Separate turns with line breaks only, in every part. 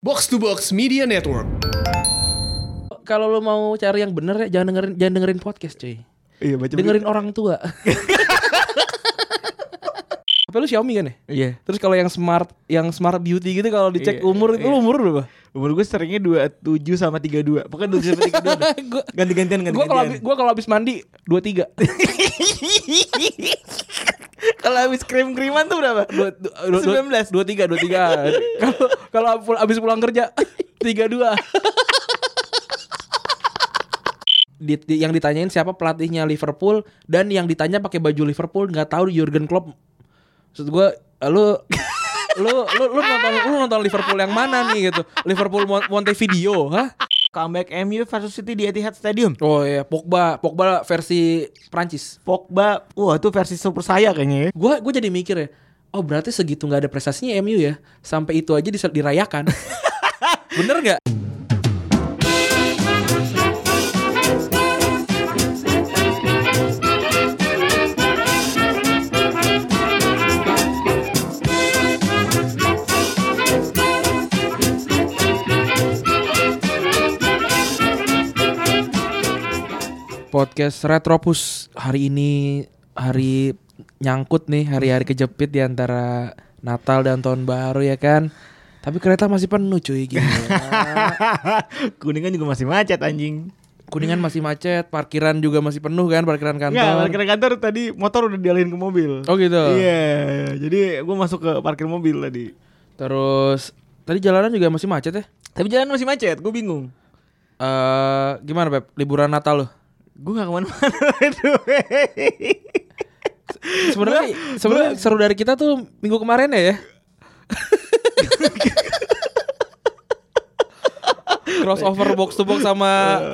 Box to Box Media Network.
Kalau lo mau cari yang bener ya jangan dengerin jangan dengerin podcast cuy.
Iya baca
Dengerin orang tua. Tapi lu Xiaomi kan ya?
Iya.
Terus kalau yang smart, yang smart beauty gitu kalau dicek
Iya,
umur itu
iya.
lu umur berapa?
Umur gue seringnya 27 sama 32. Pokoknya 27 sama 32. dah.
Gua-
Ganti-gantian
Gua kalau
ganti-gantian.
abis- gua kalau habis mandi 23.
Kalau habis krim-kriman tuh berapa?
23
19.
23. Kalau kalau pul- abis pulang kerja 32. Di, di- yang ditanyain siapa pelatihnya Liverpool dan yang ditanya pakai baju Liverpool nggak tahu Jurgen Klopp. Maksud gua lu lu lu lu nonton lu nonton Liverpool yang mana nih gitu. Liverpool Mon- Montevideo, hah?
Comeback MU versus City di Etihad Stadium.
Oh iya, Pogba, Pogba versi Prancis.
Pogba, wah itu versi super saya kayaknya ya.
Gue gue jadi mikir ya, oh berarti segitu nggak ada prestasinya MU ya, sampai itu aja dis- dirayakan. Bener nggak? Podcast Retropus hari ini hari nyangkut nih hari-hari kejepit di antara Natal dan Tahun Baru ya kan. Tapi kereta masih penuh cuy gini.
Kuningan juga masih macet anjing.
Kuningan masih macet, parkiran juga masih penuh kan parkiran
Enggak,
kantor.
Iya, parkiran kantor tadi motor udah dialihin ke mobil.
Oh gitu.
Iya, jadi gue masuk ke parkir mobil tadi.
Terus tadi jalanan juga masih macet ya?
Tapi jalan masih macet, gue bingung.
Eh gimana Beb? Liburan Natal lo?
Gue gak kemana-mana itu. Eh.
Sebenarnya sebenarnya seru dari kita tuh minggu kemarin ya ya. Crossover box to box sama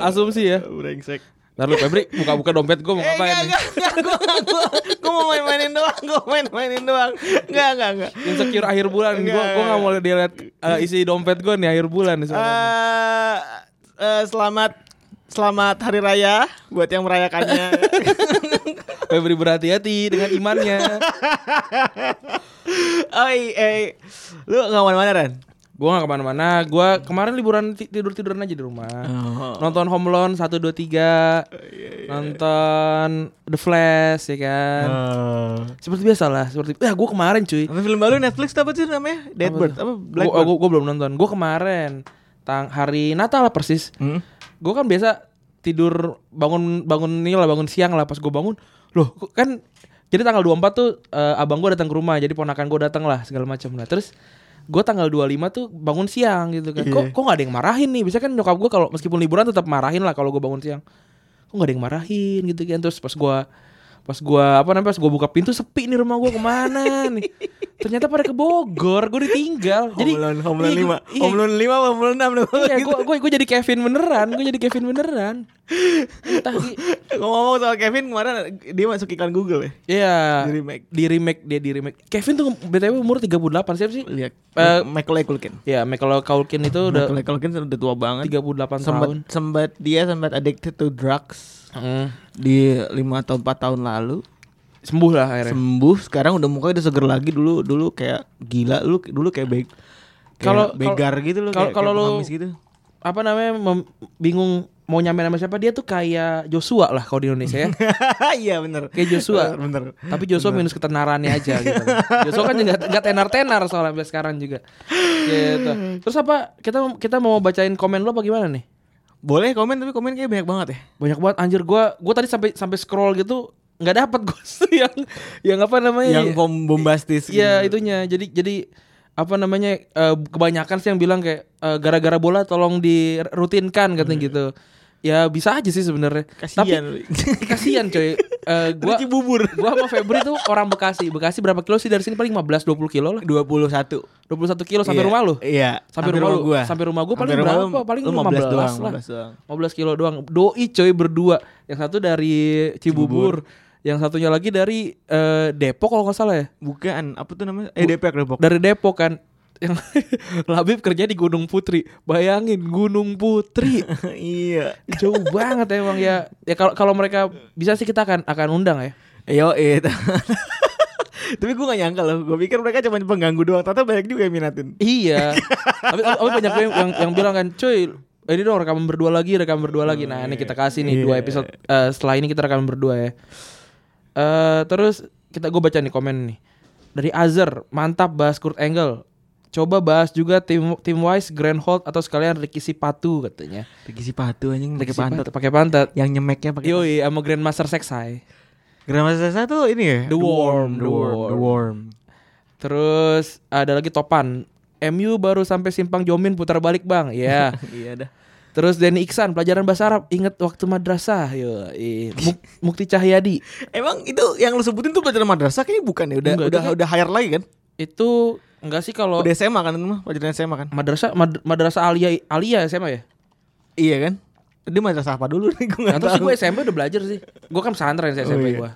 asumsi ya.
Brengsek.
Lalu Febri buka-buka dompet gue mau
Eh, enggak,
ngapain? nih?
enggak, enggak, gue gue mau main-mainin doang, gue main-mainin doang. Enggak, enggak, enggak.
Insecure akhir bulan. Gue
Enggak,
gue nggak mau dilihat eh, isi dompet gue nih akhir bulan. nih sebenarnya.
Eh, eh, selamat selamat hari raya buat yang merayakannya.
Febri berhati-hati dengan imannya.
Oi, eh, lu gak kemana-mana Ran?
gue nggak kemana-mana. Gue kemarin liburan ti- tidur-tiduran aja di rumah.
Oh.
Nonton Home Alone satu dua tiga. iya. Nonton The Flash ya kan. Seperti biasa lah, seperti ya gue kemarin cuy.
Eh, Apa film baru Netflix tuh apa sih namanya? Deadbird apa
Gue
Blackbird?
belum nonton. Gue kemarin tang hari Natal lah persis.
Hmm?
Gue kan biasa tidur bangun bangun ini lah bangun siang lah pas gue bangun. Loh, kok kan jadi tanggal 24 tuh eh, abang gue datang ke rumah, jadi ponakan gue datang lah segala macam lah. Terus gue tanggal 25 tuh bangun siang gitu kan. Kok kok gak ada yang marahin nih? Biasanya kan nyokap gue kalau meskipun liburan tetap marahin lah kalau gue bangun siang. Kok gak ada yang marahin gitu kan. Terus pas gue pas gua apa namanya pas gua buka pintu sepi nih rumah gua kemana nih ternyata pada ke Bogor gua ditinggal jadi
Home Alone, Home Alone
iya, gua-
5 Home Alone 5 apa Home Alone 6
iya, iya gua, gua, gua jadi Kevin beneran gua jadi Kevin beneran entah gi-
Ngomong-ngomong soal Kevin kemarin dia masuk iklan Google ya
Iya.
Di remake.
Di remake dia di remake. Kevin tuh BTW umur 38 siapa sih?
Lihat
Eh,
Michael Culkin
Ya, Michael Culkin itu udah
Michael Culkin udah tua banget
38
sempat
tahun.
sempat dia sempat addicted to drugs
Mm.
di 5 tahun 4 tahun lalu
Sembuh lah akhirnya.
sembuh sekarang udah mukanya udah seger lagi dulu dulu kayak gila lu dulu kayak baik
Kalau-
kalau begar gitu loh
kalau-
kayak-
kalau
kayak
lu-
pengemis gitu
Apa namanya? mem- bingung mau nyampe sama siapa? Dia tuh kayak Joshua lah kalau di Indonesia ya.
iya bener
Kayak Joshua.
bener
Tapi Joshua minus ketenarannya aja gitu. Joshua kan juga nggak tenar-tenar soalnya sampai sekarang juga. Gitu. Terus apa? Kita kita mau bacain komen lo apa gimana nih?
boleh komen tapi komen kayak banyak banget ya
banyak banget anjir gua gua tadi sampai sampai scroll gitu nggak dapat gua yang yang apa namanya
yang gitu. bom bombastis Hmm.
ya itunya jadi jadi apa namanya eh, kebanyakan sih yang bilang kayak eh, gara-gara bola tolong dirutinkan katanya gitu ya bisa aja sih sebenarnya
kasihan
tapi kasihan coy Eh, gua
bubur
gua sama Febri tuh orang Bekasi Bekasi berapa kilo sih dari sini paling 15 20 kilo lah
21
21 kilo sampai rumah lu
iya
Sampai rumah lu. Sampai rumah gua paling
Sampai rumah
berapa?
lu-
Paling
lu
15
doang,
lah.
15 doang.
15 kilo doang. Doi coy berdua. Yang satu dari Cibubur, yang satunya lagi dari eh, Depok kalau nggak salah ya.
bukan apa tuh namanya eh depok depok
Dari Depok kan. Yang Labib kerja di Gunung Putri. Bayangin Gunung Putri.
iya
Jauh banget emang ya. Ya kalau kalau mereka bisa sih kita akan akan undang ya.
Yo, itu. Tapi gue gak nyangka loh, gue pikir mereka cuma pengganggu doang. Ternyata banyak juga yang minatin.
Iya. tapi, tapi banyak yang, yang yang bilang kan, cuy, ini dong rekaman berdua lagi, rekaman berdua lagi. Nah, ini kita kasih nih
Iya.
dua episode eh, setelah ini kita rekaman berdua ya. Eh terus kita gue baca nih komen nih. Dari Azher, mantap bahas Kurt Angle. Coba bahas juga tim tim Wise, Grand Hold atau sekalian Ricky Sipatu katanya.
Pakai si patu anjing, pakai
Ricky
pantat.
Sipatu, Pakai pantat.
Yang nyemeknya pakai.
Yoi, sama Grandmaster Sexai.
Grandmaster saya tuh ini ya.
The Worm,
The
The
Worm,
Worm.
The Worm.
Terus ada lagi Topan. MU baru sampai simpang Jomin putar balik, Bang. Ya.
Iya dah.
Terus Denny Iksan pelajaran bahasa Arab inget waktu madrasah yo i. Muk- Mukti Cahyadi
Emang itu yang lu sebutin tuh pelajaran madrasah kayaknya bukan ya? Udah
Enggak,
udah
itu kan-
udah hire lagi kan?
itu enggak sih kalau
Udah SMA kan itu mah, pelajaran SMA kan?
madrasah mad- madrasah alia alia SMA ya?
Iya kan? Dia madrasah apa dulu nih gue
Nah,
enggak
terus
tahu.
gue SMP udah belajar sih. Gue kan pesantren sih SMP
Oh, iya.
gue.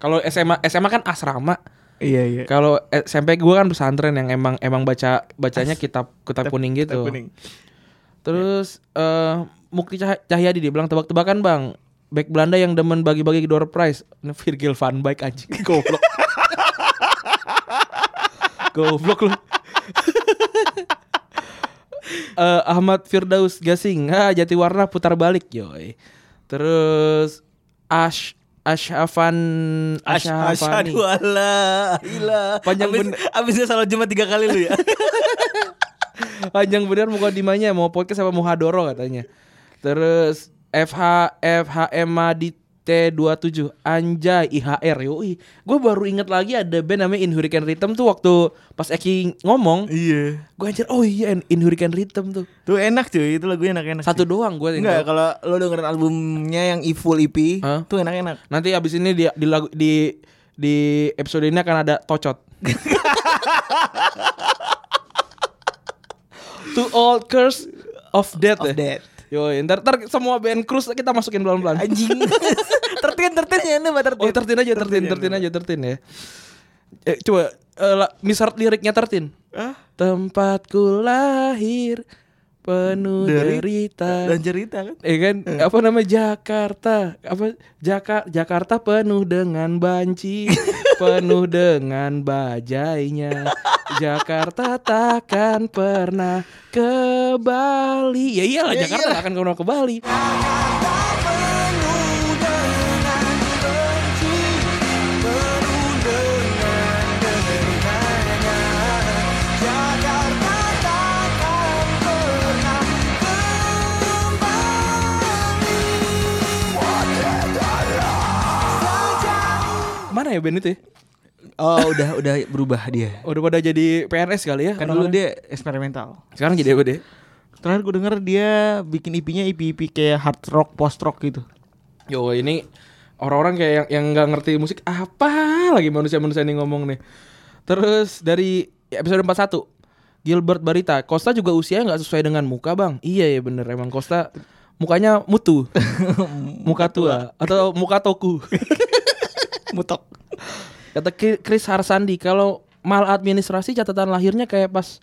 Kalau SMA SMA kan asrama.
Iya iya.
Kalau SMP gue kan pesantren yang emang emang baca bacanya kitab kitab kuning gitu.
Kitab kuning.
Terus eh Mukti Cah- Cahyadi dia bilang tebak-tebakan bang Back Belanda yang demen bagi-bagi door prize Ini Virgil van Dijk anjing Goblok Goblok lu Eh, Ahmad Firdaus Gasing ah, Jati warna putar balik yoi Terus Ash Ashafan Ashafani
Asyhadu alla ilaha
Panjang
Abis-
bener.
Abisnya salat Jumat tiga kali lu ya.
Panjang bener mukadimahnya mau podcast apa mau hadoro katanya. Terus FH FHM di T27 Anjay IHR yoi Gue baru inget lagi ada band namanya In Hurricane Rhythm tuh waktu pas Eki ngomong
iya.
Gue anjir oh iya In- In Hurricane Rhythm tuh
Tuh enak cuy, itu lagunya enak-enak.
Satu
cuy.
doang gue
Enggak, kalau lo dengerin albumnya yang E Full EP,
Hah?
tuh enak-enak.
Nanti abis ini di, di, lagu, di, di episode ini akan ada tocot Two old curse of death
Of
ya?
that.
Yo, ntar, ntar semua band cruise kita masukin pelan-pelan.
Anjing. tertin tertin ya nih, tertin.
Oh, tertin aja, tertin, tertin aja, tertin ya. Eh, coba eh, la- misal liriknya tertin.
Hah?
Tempatku lahir penuh
Dari-
derita.
Dan cerita kan.
Eh kan apa nama Jakarta apa Jaka Jakarta penuh dengan banci penuh dengan bajainya Jakarta takkan pernah ke Bali ya iyalah
Ya
Jakarta
iyalah.
takkan pernah ke Bali mana ya band itu ya?
Oh, udah udah berubah dia.
udah pada jadi PNS kali ya
Kan dulu dia eksperimental.
sekarang jadi apa deh
Terakhir gue denger dia bikin E EP-nya EP-EP kayak hard rock, post rock gitu.
Yo ini orang-orang kayak yang yang nggak ngerti musik apa lagi manusia-manusia ini ngomong nih. Terus dari episode 41 Gilbert Barita, Costa juga usianya nggak sesuai dengan muka bang. Iya ya bener emang Costa mukanya mutu, muka tua atau muka toku.
Mutok.
Kata Ki- Chris Harsandi kalau maladministrasi catatan lahirnya kayak pas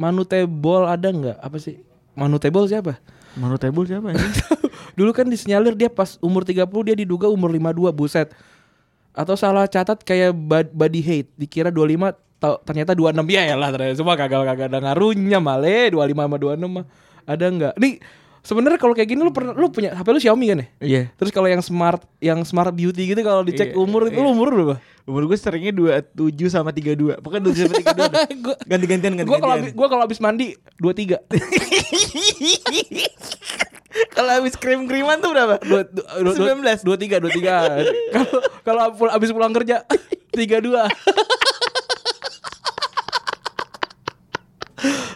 manutebol ada nggak apa sih? Manutebol siapa?
Menurut Table siapa ya?
Dulu kan disinyalir dia pas umur 30 dia diduga umur 52 buset. Atau salah catat kayak bad- body hate dikira 25 tau, ternyata 26 ya lah ternyata semua kagak kagak ada ngaruhnya male 25 sama 26 mah. Ada nggak? Nih sebenarnya kalau kayak gini lu pernah lu punya HP lu Xiaomi kan ya?
Iya.
Terus kalau yang smart yang smart beauty gitu kalau dicek
Iya,
umur itu lu umur berapa?
Umur gue seringnya 27 sama 32. Pokoknya 27 sama 32. dah.
Gua-
Ganti-gantian
Gua kalau
ganti-gantian.
abis- gua kalau habis mandi 23.
Kalau habis krim-kriman tuh berapa?
dua, dua, dua,
19.
23 23 kalau kalau pul- abis pulang kerja 32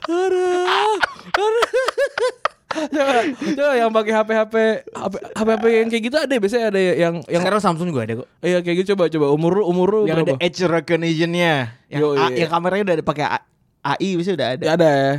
Aduh, aduh. Coba, coba yang pakai HP HP HP HP yang kayak gitu ada ya? biasanya ada ya yang yang
Sekarang Samsung juga ada kok.
iya kayak gitu coba coba umur lu umur lu
Yang ada
berapa?
edge recognition-nya. Yang,
Yo, iya.
A- yang kameranya udah ada pakai A- AI bisa udah ada.
Ya ada ya.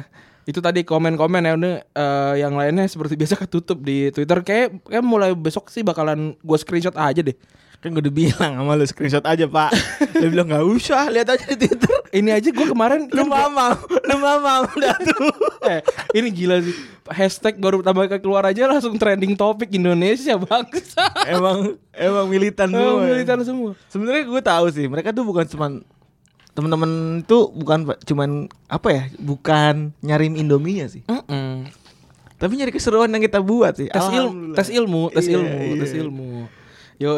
Itu tadi komen-komen ya ini, eh, yang lainnya seperti biasa ketutup di Twitter kayak kayak mulai besok sih bakalan gue screenshot aja deh.
Kan gue udah bilang sama lu screenshot aja, Pak. Dia bilang nggak usah, lihat aja di Twitter.
Ini aja gue kemarin
Lu mamam, lu mamam udah tuh.
eh, ini gila sih. Hashtag baru tambah ke keluar aja langsung trending topik Indonesia bangsa.
emang emang militan semua.
Militan semua.
Sebenarnya gue tahu sih, mereka tuh bukan cuman temen-temen tuh bukan pa- cuman apa ya bukan nyari indominya sih
Mm-mm.
tapi nyari keseruan yang kita buat sih
tes ilmu
Hmm. Ah, Alhamdulillah.
tes ilmu tes
Iya,
ilmu
iya.
tes ilmu yo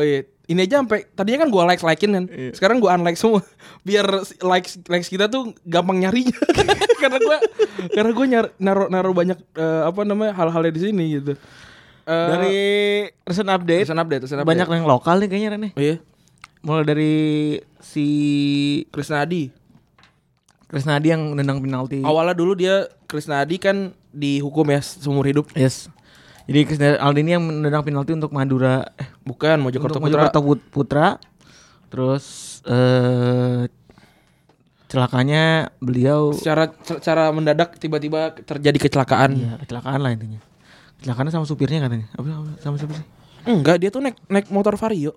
ini aja sampai tadinya kan gua like likein kan
Iya.
sekarang gua unlike semua biar likes likes kita tuh gampang nyarinya karena gua karena gua nyar, naruh naruh banyak eh, apa namanya hal-halnya di sini gitu Eh,
dari recent update,
recent update recent update.
banyak yang lokal nih kayaknya Rene
oh, iya
mulai dari si
Krisna Adi
Krisnadi yang nendang penalti
awalnya dulu dia Krisna Adi kan dihukum ya seumur hidup
yes jadi Krisnadi Aldini yang menendang penalti untuk Madura eh,
bukan Mojokerto
Untuk
Putra
Mojokerto Put- Putra. Terus eh celakanya beliau
secara secara mendadak tiba-tiba terjadi kecelakaan
ya kecelakaan lah intinya. Kecelakaan sama supirnya katanya. Apa apa- sama siapa sih?
Enggak, dia tuh naik naik motor Vario.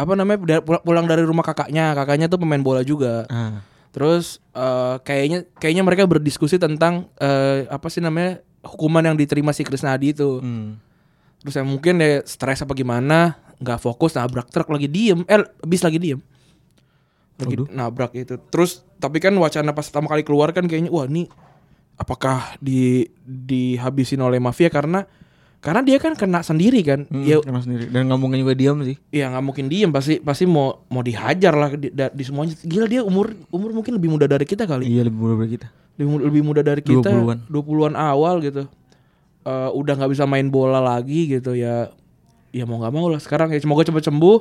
Apa namanya da- pul- pulang dari rumah kakaknya. Kakaknya tuh pemain bola juga.
Ah,
Terus eh, kayaknya kayaknya mereka berdiskusi tentang eh, apa sih namanya hukuman yang diterima si Krisna Adi itu.
hmm.
Terus yang mungkin dia stres apa gimana, nggak fokus nabrak truk lagi diem, eh bis lagi diem. Lagi
Waduh.
nabrak itu. Terus tapi kan wacana pas pertama kali keluar kan kayaknya wah ini apakah di dihabisin oleh mafia karena karena dia kan kena sendiri kan.
Hmm,
Ya
kena sendiri dan nggak mungkin juga diam sih.
ya nggak mungkin diem pasti pasti mau mau dihajar lah di, da- di semuanya gila dia umur umur mungkin lebih muda dari kita kali
Iya lebih mudah dari kita.
lebih, mu- lebih muda dari kita
20-an.
20-an awal gitu Eh, udah nggak bisa main bola lagi gitu ya ya mau nggak mau lah sekarang ya semoga cepat sembuh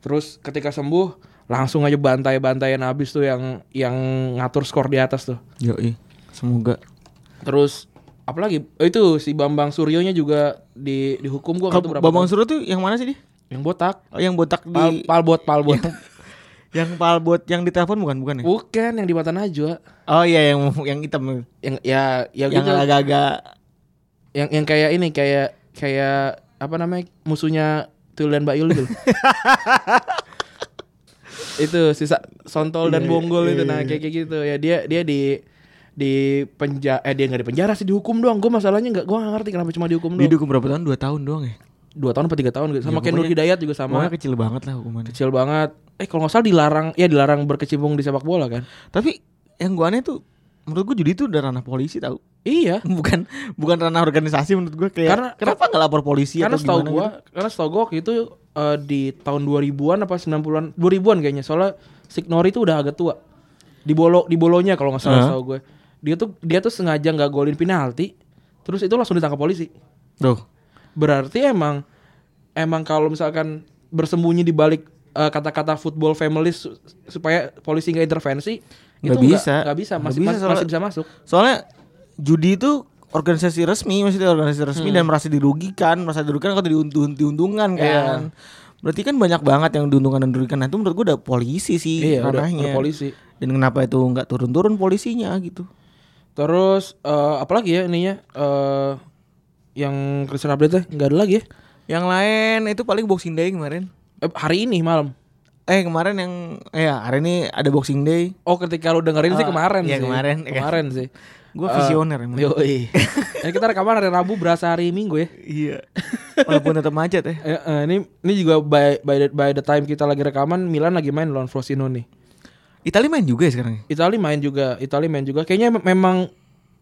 terus ketika sembuh langsung aja bantai-bantaian abis tuh yang yang ngatur skor di atas tuh
Yoi. Semoga
terus apalagi oh, itu si Bambang Suryonya juga di dihukum gua waktu gitu berapa
Babang
tahun?
Suro tuh yang mana sih dia?
yang botak
Oh, yang botak di Iya.
pal palbot palbot
yang palbot yang ditelepon bukan bukan ya?
bukan yang di Mata Najwa
Oh iya yang yang hitam.
yang ya ya
Yang
gitu
agak-agak
yang yang kayak ini kayak kayak apa namanya musuhnya Tul dan Mbak Yul itu loh. itu sisa Sontol dan Bonggol itu nah kayak kayak gitu ya dia dia di di penjara eh dia nggak di penjara sih dihukum doang gue masalahnya nggak gue nggak ngerti kenapa cuma dihukum doang
didukung berapa tahun? Dua tahun doang ya.
dua tahun apa tiga tahun gitu sama
Ya,
kayak Nur
pokoknya-
Hidayat juga
Pokoknya
sama
kecil banget lah hukumannya.
kecil banget eh kalau nggak salah dilarang ya dilarang berkecimpung di sepak bola kan
Tapi yang gua aneh tuh menurut gua judi itu udah ranah polisi tau
iya
bukan bukan ranah organisasi menurut gua kayak
Karena-
kenapa nggak lapor polisi
karena
atau
setahu
gimana gitu?
gua karena setahu gua waktu itu eh, di tahun 2000-an apa 90-an 2000-an kayaknya soalnya Signori itu udah agak tua di bolo di bolonya kalau nggak salah
Hah?
setahu gue dia tuh dia tuh sengaja nggak golin penalti terus itu langsung ditangkap polisi
gitu? Duh.
berarti emang emang kalau misalkan bersembunyi di balik eh, kata-kata football family su- supaya polisi nggak intervensi
Nggak
itu nggak-
bisa.
nggak bisa
Nggak
masih
bisa,
masih,
soalnya-
masih bisa masuk
soalnya judi itu organisasi resmi maksudnya organisasi resmi dan merasa dirugikan merasa dirugikan kalau diuntung diuntungkan kan
Iya.
berarti kan banyak banget yang diuntungkan dan dirugikan nah, itu menurut gua udah polisi
udah-
sih ranahnya
udah polisi
dan kenapa itu nggak turun-turun polisinya gitu
Terus eh, apalagi ya ininya eh yang Kristen update teh nggak ada lagi ya?
yang lain itu paling boxing day kemarin
Eh, hari ini malam.
eh kemarin yang eh ya, hari ini ada boxing day
Oh ketika lu dengerin sih
Oh,
kemarin sih.
iya, kemarin, iya.
Kemarin sih.
Gua
Eh,
visioner emang.
Yoi. Ini kita rekaman hari Rabu berasa hari Minggu ya.
Iya. Walaupun tetap macet ya.
Eh, eh, ini ini juga by by the, by the time kita lagi rekaman Milan lagi main lawan Frosinone nih.
Itali main juga ya sekarang. ya?
Itali main juga, Itali main juga. Kayaknya mem- memang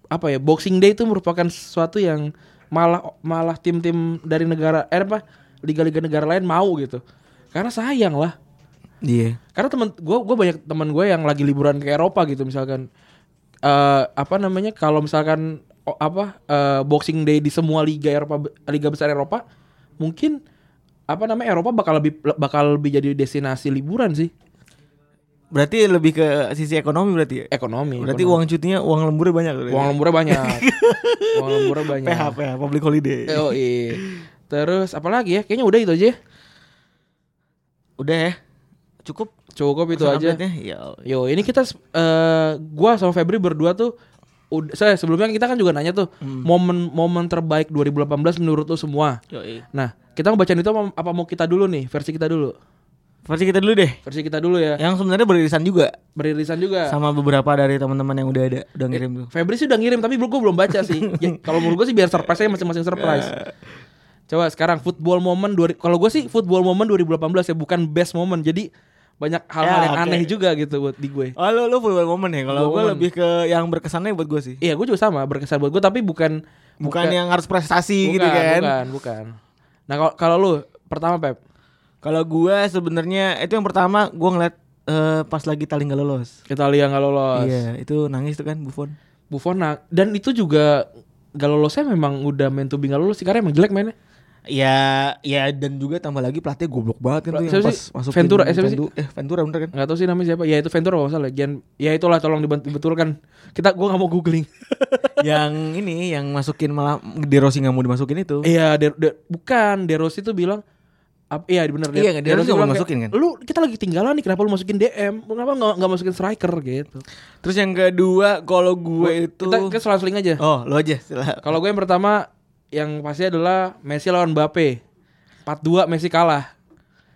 apa ya Boxing Day itu merupakan sesuatu yang malah malah tim-tim dari negara eh apa liga-liga negara lain mau gitu. Karena sayang lah.
Iya.
karena teman gue gue banyak teman gue yang lagi liburan ke Eropa gitu misalkan Eh apa namanya kalau misalkan o- apa eh, Boxing Day di semua liga Eropa liga besar Eropa mungkin apa namanya Eropa bakal lebih bakal lebih jadi destinasi liburan sih
Berarti lebih ke sisi ekonomi berarti ya.
ekonomi
Berarti
ekonomi.
uang cutinya uang lemburnya banyak berarti.
Iya, uang murah banyak uang murah banyak
PH PH public holiday.
Eh, oh, iya. terus apalagi ya kayaknya udah itu aja ya.
Udah ya. Cukup
cukup itu
pesan
aja
update-nya? Ya.
Yo, ini kita eh gua sama Febri berdua tuh ud- saya sebelumnya kita kan juga nanya tuh momen-momen terbaik 2018 menurut lu semua.
Yoi.
Nah, kita ngebacain itu apa, apa mau kita dulu nih? Versi kita dulu.
Versi kita dulu deh.
Versi kita dulu ya.
Yang sebenarnya beririsan juga
Beririsan juga.
sama beberapa dari teman-teman yang udah ada udah ngirim tuh.
Febri sih udah ngirim tapi gue belum baca sih. Ya, kalau menurut gue sih biar surprise aja masing-masing surprise. Coba sekarang football moment dua- kalau gue sih football moment 2018 ya bukan ya, best moment. Jadi banyak hal-hal
Ya,
yang
oke.
aneh juga gitu buat di gue.
Oh lu, lu football moment ya Kalau
Football
gue
moment.
lebih ke yang berkesannya buat gue sih
Iya, gue juga sama berkesan buat gue tapi bukan
Bukan yang harus
bukan,
prestasi gitu kan
bukan, bukan. Nah, kalau kalau lu pertama Pep,
Kalau gue sebenarnya Itu yang pertama gue ngeliat eh, Pas lagi tali gak lolos
Italia nggak lolos.
Iya itu nangis tuh kan Buffon
Buffon nah, dan itu juga gak lolosnya memang udah main to be gak lolos sih karena emang jelek mainnya.
Ya, ya dan juga tambah lagi pelatih goblok banget kan tuh yang
Siapa
pas
sih?
masukin
Ventura, eh, siapa sih?
Ventu- eh Ventura bener kan?
Gak tau sih namanya siapa. Ya itu Ventura kalau nggak salah. Gian, ya itulah tolong dibet- dibetulkan. Kita gua nggak mau googling.
yang ini yang masukin malah De Rossi nggak mau dimasukin itu.
Iya, De- De- bukan De Rossi tuh bilang ap- iya benar
Iya, kan, De Rossi nggak
bilang
mau
kayak,
masukin, kan?
Lu kita lagi tinggalan nih, kenapa lu masukin DM? Kenapa nggak nggak masukin striker gitu?
Terus yang kedua kalau gue itu
Kita ke selang-seling aja.
Oh, lo aja sila.
Kalau gue yang pertama yang pasti adalah Messi lawan Mbappe. 4-2 Messi kalah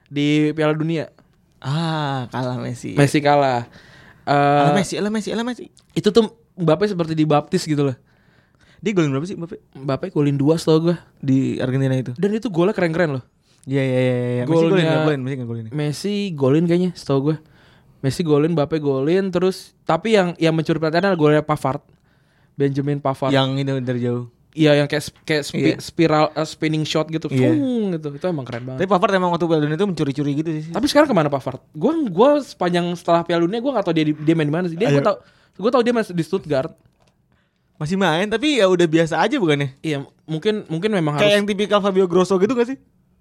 di Piala Dunia.
Ah, kalah Messi.
Messi kalah. Eh,
Kalah Messi, kalah Messi, kalah Messi.
itu tuh Mbappe seperti dibaptis gitu loh.
Dia golin berapa sih, Bapak?
Mbappe golin dua setahu gue.
Di Argentina itu.
Dan itu golnya keren-keren loh.
Iya, iya, iya, iya. Messi
Golnya-
golin nggak golin, Messi nggak golin.
Messi golin kayaknya setahu gue. Messi golin, Mbappe golin terus tapi yang yang mencuri perhatian adalah golnya Pavard. Benjamin Pavard.
Yang ini dari jauh.
Iya yang kayak sp- kayak spi-
Iya.
spiral eh, spinning shot gitu.
Iya.
Fung, gitu. Itu emang keren banget.
Tapi Pavard emang waktu Piala Dunia itu mencuri-curi gitu sih.
Tapi sekarang kemana Pavard? Gue gua sepanjang setelah Piala Dunia gue gak tau dia di- dia main di mana sih. Dia gue
Ayo.
tau gue tau dia masih di Stuttgart.
Masih main tapi ya udah biasa aja bukannya?
Iya mungkin mungkin memang
Kayak
harus.
yang tipikal Fabio Grosso gitu gak sih?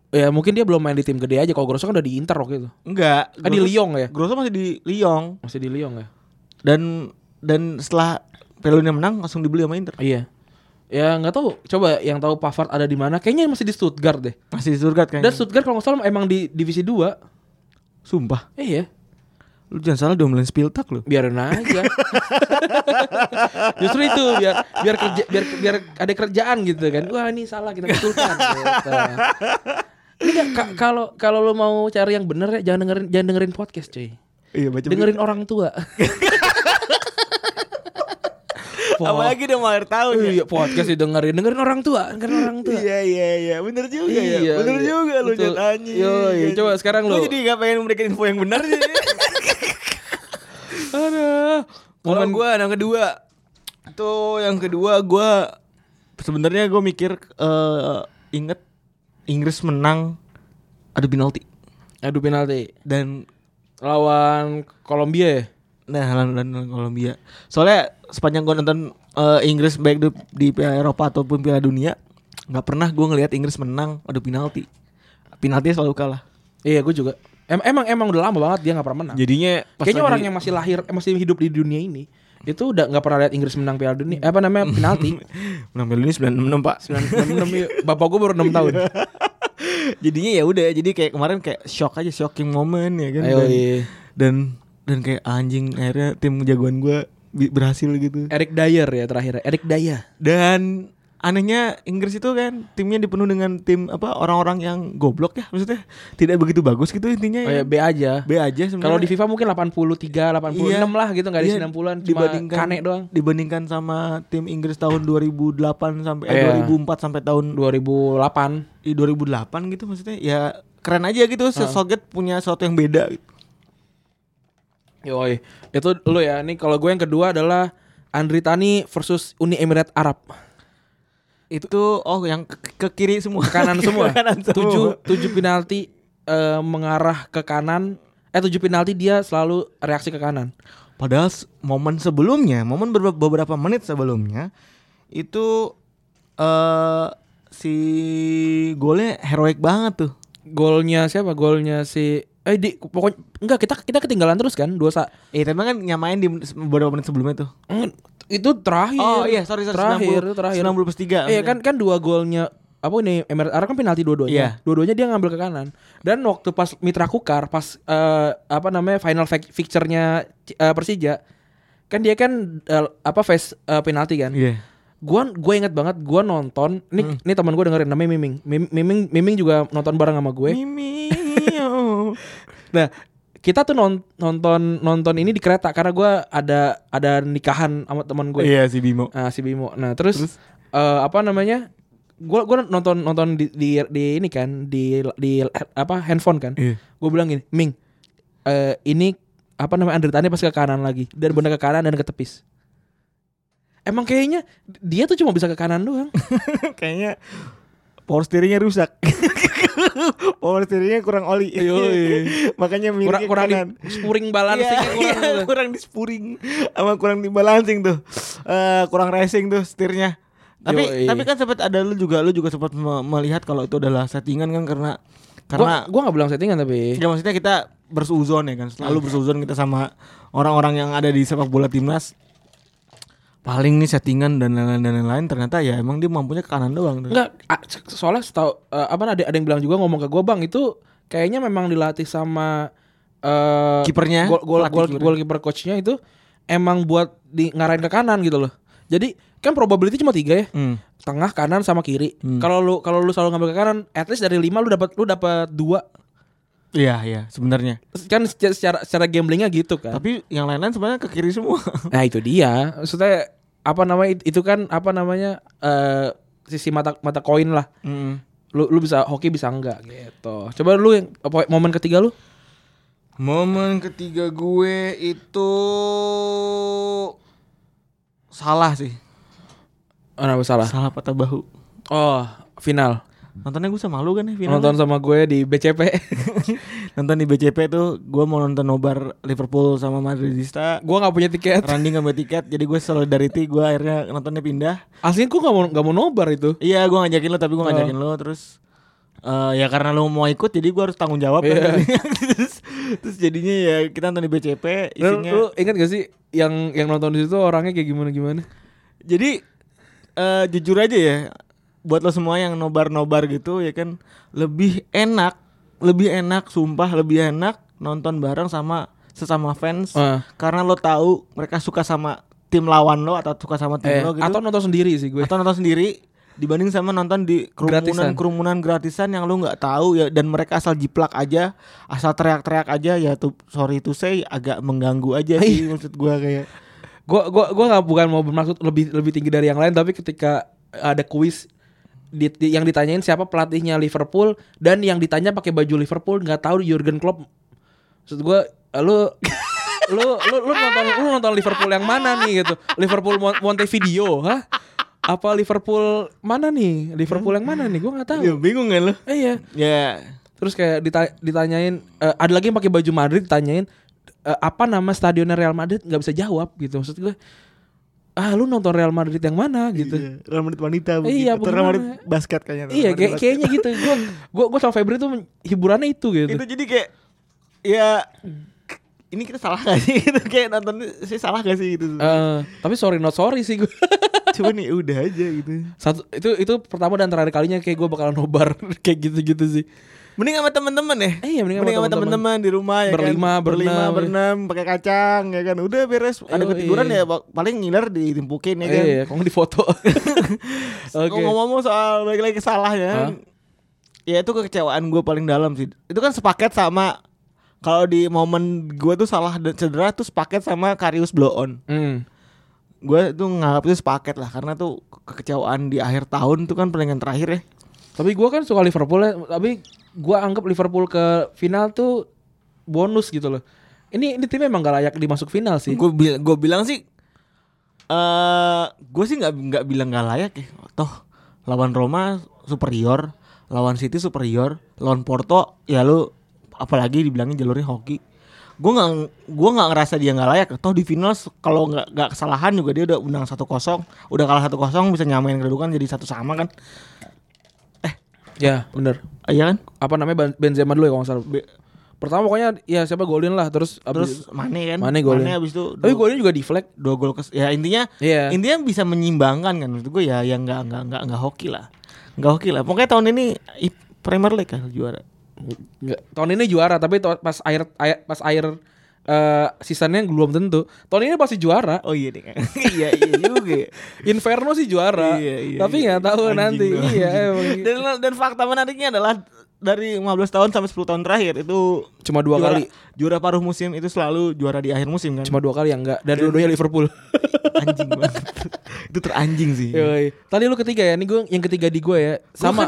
Ya mungkin dia belum main di tim gede aja. Kalau Grosso kan udah di Inter waktu itu.
Enggak.
Kan di
Grosso-
Lyon ya.
Grosso masih di Lyon
Masih di Lyon ya.
dan dan setelah Piala Dunia menang langsung dibeli sama Inter.
Iya. Ya nggak tahu. Coba yang tahu Pavard ada di mana? Kayaknya masih di Stuttgart deh.
Masih di Stuttgart
Dan
kayaknya.
Stuttgart kalau nggak salah emang di divisi 2
Sumpah,
Iya
lu jangan salah diomelin Spiltak lu.
biarin aja justru itu biar biar kerja biar biar ada kerjaan gitu kan wah ini salah kita betulkan gitu. Ini nggak- ka- kalau kalau lo mau cari yang bener ya jangan dengerin jangan dengerin podcast cuy
Iya, baca
dengerin orang tua
Apalagi udah mau akhir tahun ya.
Iya podcast dengerin dengerin orang tua dengerin orang tua
Iya iya iya bener juga
Iya,
ya bener
iya.
juga lu
Betul.
jangan anjing.
Yo, iya. Coba sekarang lu.
Gua jadi gak pengen memberikan info yang benar sih.
Aduh.
Kalau
Momen-
gue yang kedua tuh yang kedua gue sebenarnya gue mikir eh, inget Inggris menang ada penalti
Aduh penalti
dan
lawan Kolombia ya.
Nah, Holland dan Kolombia. Soalnya sepanjang gue nonton eh, Inggris baik di, di Piala Eropa ataupun Piala Dunia, nggak pernah gue ngelihat Inggris menang adu penalti. Penaltinya selalu kalah.
Iya gue juga. Em- emang emang udah lama banget dia nggak pernah menang.
Jadinya
Kayaknya orang yang masih lahir eh, masih hidup di dunia ini itu udah nggak pernah lihat Inggris menang Piala Dunia. eh, Apa namanya penalti?
menang Piala Dunia 96 pak.
96 yuk. Bapak gue baru 6 tahun.
Jadinya ya udah, jadi kayak kemarin kayak shock aja, shocking moment ya kan.
Ayo,
dan,
iya.
dan dan kayak anjing akhirnya tim jagoan gue berhasil gitu.
Eric Dyer ya terakhir. Eric
Iya.
Dyer.
Dan anehnya Inggris itu kan timnya dipenuh dengan tim apa orang-orang yang goblok ya maksudnya tidak begitu bagus gitu intinya
Oh, ya,
ya.
B aja.
B aja sebenarnya.
Kalau di FIFA mungkin 83, 86
Iya.
lah gitu nggak ada
Iya,
90-an cuma Kane doang.
Dibandingkan sama tim Inggris tahun 2008 sampai eh,
Iya.
2004 sampai tahun
2008.
eh, 2008 gitu maksudnya ya keren aja gitu Southgate punya sesuatu yang beda gitu.
Yoi. Itu lu ya. Nih kalau gue yang kedua adalah Andri Tani versus Uni Emirat Arab.
Itu oh yang ke, ke kiri semua
Ke kanan semua.
ke kanan semua.
Tujuh tujuh penalti eh, mengarah ke kanan. Eh tujuh penalti dia selalu reaksi ke kanan.
Padahal s- momen sebelumnya, momen berbe- beberapa menit sebelumnya itu eh si golnya heroik banget tuh.
Golnya siapa? Golnya si eh di pokoknya enggak kita kita ketinggalan terus kan dua sa
Eh tapi kan nyamain di men- beberapa menit sebelumnya tuh.
Eng, itu terakhir.
Oh iya, sorry sorry
terakhir
90,
terakhir.
90 plus 3.
Iya kan kan dua golnya apa ini Emirat Arab kan penalti dua-duanya.
Iya.
Dua-duanya dia ngambil ke kanan. Dan waktu pas Mitra Kukar pas eh, apa namanya final fi- fixture-nya eh, Persija kan dia kan eh, apa face eh, penalti kan.
Iya. Hmm.
gua gue inget banget gua nonton nih nih teman gue dengerin namanya Miming Mim- Miming Miming juga nonton bareng sama gue
Mimi.
nah kita tuh non- nonton nonton ini di kereta karena gua ada ada nikahan sama teman gue
Iya si Bimo.
Ah, si Bimo nah terus, eh, apa namanya gua gua nonton nonton di, di di ini kan di di apa handphone kan
Iya.
gue bilang gini Ming eh eh, ini apa namanya undertane pas ke kanan lagi dan benar ke kanan dan ke tepis. Emang kayaknya dia tuh cuma bisa ke kanan doang.
Kayaknya power steeringnya rusak. power steeringnya kurang oli.
Yoi.
Makanya
kurang
miringnya
kurang di
kanan.
spuring balancing
Iya,
kurang.
iya,
gitu.
kurang di spuring sama kurang di balancing tuh. Eh, kurang racing tuh setirnya. Tapi
Yoi.
tapi kan sempat ada lu juga lu juga sempat me- melihat kalau itu adalah settingan kan karena
Gua
karena
gua nggak bilang settingan tapi
ya maksudnya kita bersuzon ya kan
Iya.
selalu bersuzon kita sama orang-orang yang ada di sepak bola timnas paling nih settingan dan lain-lain dan lain-lain ternyata ya emang dia mampunya ke kanan doang tuh.
enggak a- so- soalnya setahu eh, apa ada ada yang bilang juga ngomong ke gua Bang itu kayaknya memang dilatih sama eh
Kipernya,
gol gol
pelatih
gol
kipernya.
goalkeeper coachnya itu emang buat di ngarahin ke kanan gitu loh. Jadi kan probability cuma tiga ya.
Hmm.
Tengah, kanan sama kiri. Kalau lu kalau lu selalu ngambil ke kanan, at least dari lima lu dapat lu dapat dua.
Iya iya sebenarnya.
Kan secara secara, secara gamblingnya gitu kan.
Tapi yang lain-lain sebenarnya ke kiri semua.
Nah itu dia. Maksudnya apa namanya it- itu kan apa namanya eh sisi mata mata koin lah.
Mm.
Lu lu bisa hoki bisa enggak gitu. Coba lu yang apa, momen ketiga lu.
Momen ketiga gue itu salah sih.
Oh, kenapa salah?
Salah patah bahu.
Oh, final.
Nontonnya gue sama lu kan ya final.
Nonton sama gue di BCP.
Nonton di BCP tuh gue mau nonton nobar Liverpool sama Madridista.
gue nggak punya tiket.
Randy ngambil tiket jadi gue solidarity gue akhirnya nontonnya pindah.
Aslinya gue nggak mau nggak mau nobar itu.
Iya gue ngajakin lo tapi gue ngajakin lo terus eh, ya karena lo mau ikut jadi gue harus tanggung jawab kan. terus, terus jadinya ya kita nonton di BCP
Lu,
isinya.
lu ingat gak sih yang yang nonton di situ orangnya kayak gimana gimana?
Jadi eh jujur aja ya, buat lo semua yang nobar-nobar gitu ya kan lebih enak, lebih enak, sumpah lebih enak nonton bareng sama sesama fans
Ah.
karena lo tahu mereka suka sama tim lawan lo atau suka sama tim
Eh,
lo gitu
atau nonton sendiri sih gue.
atau nonton sendiri dibanding sama nonton di kerumunan
Gratisan.
kerumunan gratisan yang lu nggak tahu ya dan mereka asal jiplak aja asal teriak-teriak aja ya tuh sorry to say agak mengganggu aja sih maksud gua kayak
Gue gue gue nggak bukan mau bermaksud lebih lebih tinggi dari yang lain tapi ketika ada kuis di, di- yang ditanyain siapa pelatihnya Liverpool dan yang ditanya pakai baju Liverpool nggak tahu Jurgen Klopp. Maksud gue lu lu lu lu nonton lu nonton Liverpool yang mana nih gitu? Liverpool Mon- Montevideo, hah? Apa Liverpool mana nih? Liverpool yang mana nih? Gue nggak tahu.
ya bingung kan lo
Eh, iya.
ya
Terus kayak dita- ditanyain eh, ada lagi yang pakai baju Madrid ditanyain eh, apa nama stadionnya Real Madrid nggak bisa jawab gitu maksud gue. Ah lu nonton Real Madrid yang mana gitu.
Iya, Real Madrid wanita
Iya,
Atau Real
bagaimana?
Madrid basket kayaknya.
Iya,
Real Madrid
kayak-
basket.
kayaknya gitu. Gue gua gua sama Febri tuh men- hiburannya itu gitu.
Itu jadi kayak ya k- ini kita salah gak sih gitu kayak nonton sih salah gak sih gitu.
Eh, tapi sorry not sorry sih gue.
Cuman ya udah aja gitu.
Satu itu itu pertama dan terakhir kalinya kayak gue bakalan nobar kayak gitu-gitu sih.
Mending sama teman-teman ya.
Eh, iya, mending sama
teman-teman di rumah ya
Berlima,
kan. Berlima,
berenam.
berenam pakai kacang ya kan. Udah beres. Ada
Yoi.
ketiduran ya bak- paling ngiler ditimpukin ya
Eh,
kan.
iya, kalau di foto. Oke.
Ngomong-ngomong soal balik lagi salah ya.
Hah?
kan. Ya itu kekecewaan gue paling dalam sih. Itu kan sepaket sama kalau di momen gue tuh salah dan cedera tuh sepaket sama Karius blow on.
Hmm.
Gue tuh nganggap itu sepaket lah karena tuh kekecewaan di akhir tahun tuh kan pertandingan terakhir ya.
Tapi gue kan suka Liverpool ya, tapi gue anggap Liverpool ke final tuh bonus gitu loh. Ini ini tim emang gak layak dimasuk final sih.
Gue gue bilang sih eh gue sih nggak nggak bilang nggak layak ya. Toh lawan Roma superior, lawan City superior, lawan Porto ya lu apalagi dibilangnya jalurnya hoki. Gue nggak gua nggak ngerasa dia nggak layak. Toh di final se- kalau nggak nggak kesalahan juga dia udah menang 1-0, udah kalah 1-0 bisa nyamain kedudukan jadi satu sama kan.
Ya bener.
Iya kan?
Apa namanya Ben- Benzema dulu ya kalau nggak salah. Pertama pokoknya ya siapa golin lah terus
Terus
abis
Mane kan?
Mane golin.
abis itu
Tapi golin juga di flag.
dua gol kes ya intinya
Iya.
intinya bisa menyimbangkan kan menurut gue ya yang nggak nggak nggak nggak hoki lah nggak hoki lah pokoknya tahun ini i- Premier League kan juara
Nggak- Tahun ini juara tapi to- pas air, air- pas air eh seasonnya belum tentu. Tahun ini pasti juara.
oh iya deh kan iya iya juga ya.
Inferno sih juara.
Iya, iya,
tapi
iya.
nggak tahu
Anjing
nanti.
dong,
Iya
anjing.
emang.
dan dan fakta menariknya adalah dari 15 tahun sampai 10 tahun terakhir itu
Cuma dua
juara,
kali.
juara paruh musim itu selalu juara di akhir musim kan
Cuma dua kali yang enggak. Dan dua-duanya Liverpool.
anjing banget itu teranjing sih
Yoi. Tadi lu ketiga ya, ini gue yang ketiga di gue ya.
sama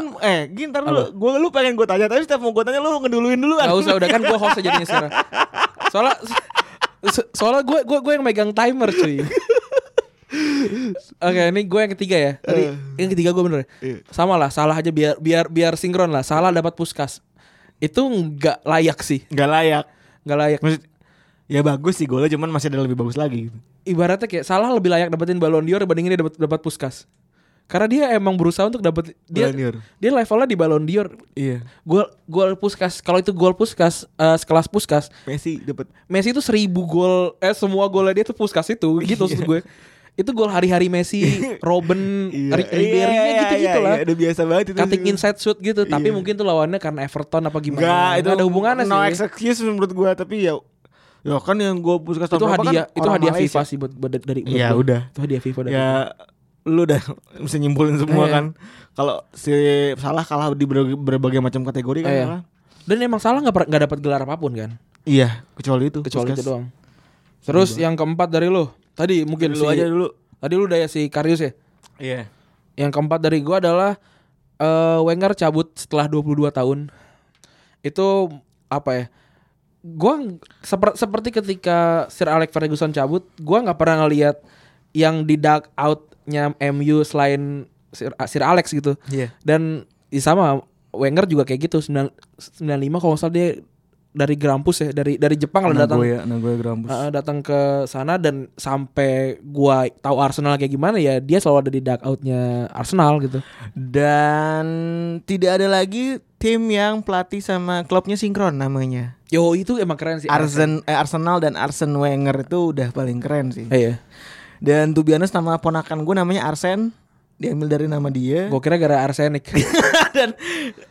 Iya. Sama.
eh gini ntar lu gue lu pengen gue tanya tapi setiap mau gue tanya lu ngeduluin duluan
Gak usah udah kan gue host jadinya sekarang. Soalnya so- soalnya gue gue gue yang megang timer cuy. Oke, ini gue yang ketiga ya. Tadi
Eh.
yang ketiga gue bener. ya?
Iya.
Sama lah, salah aja biar biar biar sinkron lah. Salah dapat puskas. Itu nggak layak sih,
Nggak layak.
nggak layak.
Maksud, ya bagus sih golnya cuman masih ada lebih bagus lagi gitu.
Ibaratnya kayak salah lebih layak dapetin Ballon d'Or dibandingin dia dapat dapat puskas. Karena dia emang berusaha untuk dapat dia
Ballon d'Or.
dia levelnya di Ballon d'Or.
Iya.
Gol gol puskas. Kalau itu gol puskas eh, sekelas puskas,
Messi dapat
Messi itu seribu gol eh semua golnya dia tuh puskas itu gitu maksud gue
Iya.
itu gol hari-hari Messi Robin Ri- Ribery
Iya,
gitu gitu lah
Udah biasa banget itu.
cutting inside shoot gitu tapi
Iya.
mungkin tuh lawannya karena Everton apa gimana
Enggak, itu
Nggak ada hubungannya
no
sih
excuse menurut gua tapi ya ya kan yang gua puskas tahun
itu
berapa kan
hadiah itu
orang
hadiah
Malaysia.
FIFA sih buat, buat dari buat
Iya,
gue.
udah.
itu hadiah FIFA dari
Ya lu udah mesti nyimpulin semua
Iya.
kan. Kalau si salah kalah di berbagai, berbagai macam kategori kan.
Iya.
kalah.
dan emang salah nggak per- nggak dapat gelar apapun kan
Iya, kecuali itu.
kecuali
puskas. Iya.
itu doang terus yang keempat dari lo tadi mungkin
Lu
si-
aja dulu.
tadi lu udah ya si Karius ya
Iya.
Yang keempat dari gua adalah eh, Wenger cabut setelah 22 tahun. Itu apa ya? Gua ng- seper- seperti ketika Sir Alex Ferguson cabut, gua nggak pernah ngelihat yang di dark outnya MU selain Sir, Sir Alex gitu.
Iya.
Dan ya sama Wenger juga kayak gitu 9 95 kalau nggak salah dia dari Grampus ya, dari dari Jepang lah datang.
Nagoya, Nagoya ya, Grampus.
Heeh, datang ke sana dan sampai gua tahu Arsenal kayak gimana ya dia selalu ada di dark outnya Arsenal gitu.
Dan tidak ada lagi tim yang pelatih sama klubnya sinkron namanya.
Yo itu emang keren sih.
Arsen, eh, Arsenal dan Arsene Wenger itu udah paling keren sih.
Eh, Iya.
Dan to be honest, nama ponakan gue namanya Arsen diambil dari nama dia
Gue kira gara arsenik.
dan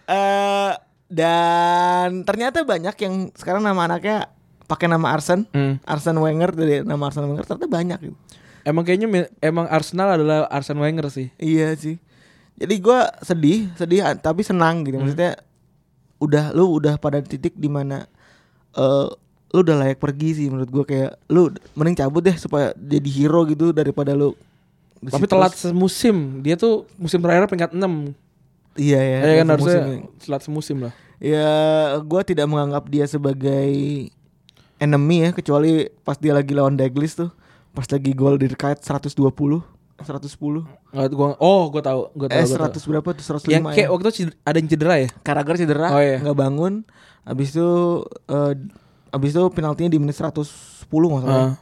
eh, dan ternyata banyak yang sekarang nama anaknya pakai nama Arsen
Hmm.
Arsen Wenger dari nama Arsen Wenger ternyata banyak gitu.
Emang kayaknya mi- emang Arsenal adalah Arsene Wenger sih.
Iya sih. Jadi gua sedih, sedih ah, tapi senang gitu.
Hmm.
Maksudnya udah lu udah pada titik dimana eh lu udah layak pergi sih menurut gua kayak lu mending cabut deh supaya jadi hero gitu daripada lu di
Tapi
situ
telat
terus.
semusim. Dia tuh musim terakhir peringkat 6.
Iya ya.
Ya kan
telat
harusnya
semusim.
telat semusim lah.
Ya gua tidak menganggap dia sebagai enemy ya kecuali pas dia lagi lawan Douglas tuh. Pas lagi gol di kait 120 110
Nggak, gua, oh, gue tahu, gue tahu.
eh
gua tahu.
100 berapa tuh 105
Yang
ya.
kayak waktu itu ced- ada yang cedera ya.
Karager cedera,
Oh, iya.
nggak bangun. Abis itu eh, abis itu penaltinya di menit 110 nggak salah.
Heeh.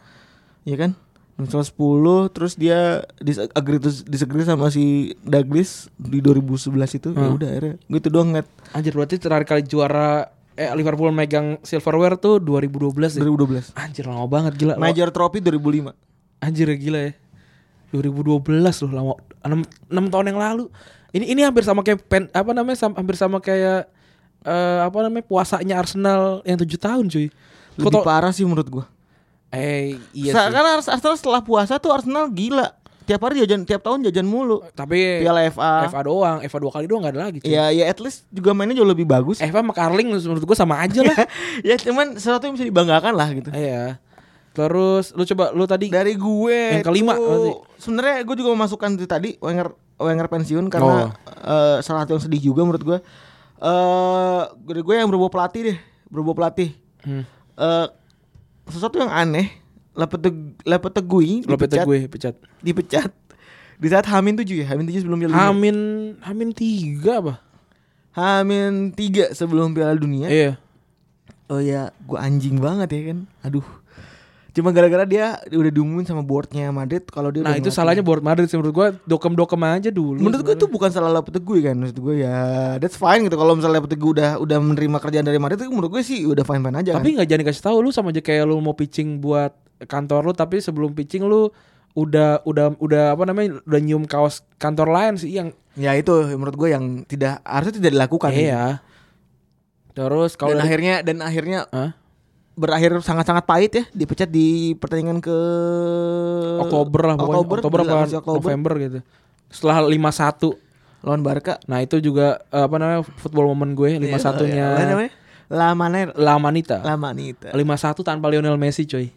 Iya kan? Menit 110 terus dia disagree disagree sama si Douglas di 2011 itu.
Ah.
Ya udah akhirnya gitu doang ngeliat
Anjir berarti terakhir kali juara eh Liverpool megang silverware tuh 2012 ya.
2012.
Anjir lama banget gila.
Major Trophy 2005.
Anjir gila ya. 2012 loh lama 6, tahun yang lalu. Ini ini hampir sama kayak pen, apa namanya sam- hampir sama kayak eh, apa namanya puasanya Arsenal yang 7 tahun cuy. Kau
Lebih
tau-
parah sih menurut gua.
eh iya
Sa-
sih.
Karena Ars- Arsenal setelah puasa tuh Arsenal gila. Tiap hari jajan, tiap tahun jajan mulu.
Tapi
Piala FA.
FA doang, FA dua kali doang gak ada lagi cuy.
Ya ya at least juga mainnya jauh lebih bagus.
FA sama Carling menurut gua sama aja lah.
ya cuman sesuatu yang bisa dibanggakan lah gitu.
Iya. Terus lu coba lu tadi
dari gue
Yang kelima
tuh,
berarti.
sebenarnya gue juga memasukkan itu tadi Wenger Wenger pensiun
Oh.
karena eh, salah satu yang sedih juga menurut gue eh dari gue yang berbau pelatih deh berbau pelatih
Hmm.
Eh, sesuatu yang aneh Lepeteg- Lepetegui
Lopet
dipecat,
gue pecat.
dipecat di saat Hamin 7 ya Hamin 7 sebelum Piala Dunia
Hamin Hamin 3 apa?
Hamin 3 sebelum Piala Dunia
Iya.
Oh ya, gua anjing banget ya kan. Aduh. Cuma gara-gara dia udah diumumin sama boardnya Madrid kalau dia
Nah,
udah
itu
ngelatih.
salahnya board Madrid sih menurut gua dokem-dokem aja dulu.
Menurut gue itu bukan salah Lopetegui gue kan Maksud gue ya That's fine gitu Kalau misalnya Lopetegui gue udah udah menerima kerjaan dari Madrid itu Menurut gue sih udah fine-fine aja
Tapi
kan
nggak jangan dikasih tahu lu sama aja kayak lu mau pitching buat kantor lu tapi sebelum pitching lu udah udah udah apa namanya udah nyium kaos kantor lain sih yang
Ya itu menurut gue yang tidak Harusnya tidak dilakukan
iya. Terus
Kalau
kalau
dan
dari-
akhirnya Dan akhirnya
Hah?
Berakhir sangat-sangat pahit ya Dipecat di pertandingan ke
Oktober lah pokoknya
Oktober,
Oktober, apa
masih Oktober.
November gitu. Setelah 51.
Lawan Barca
Nah, itu juga eh, apa namanya football moment gue 51-nya
Iya, Apa namanya? Lamaner
Lamanita.
Lamanita
51 tanpa Lionel Messi, coy.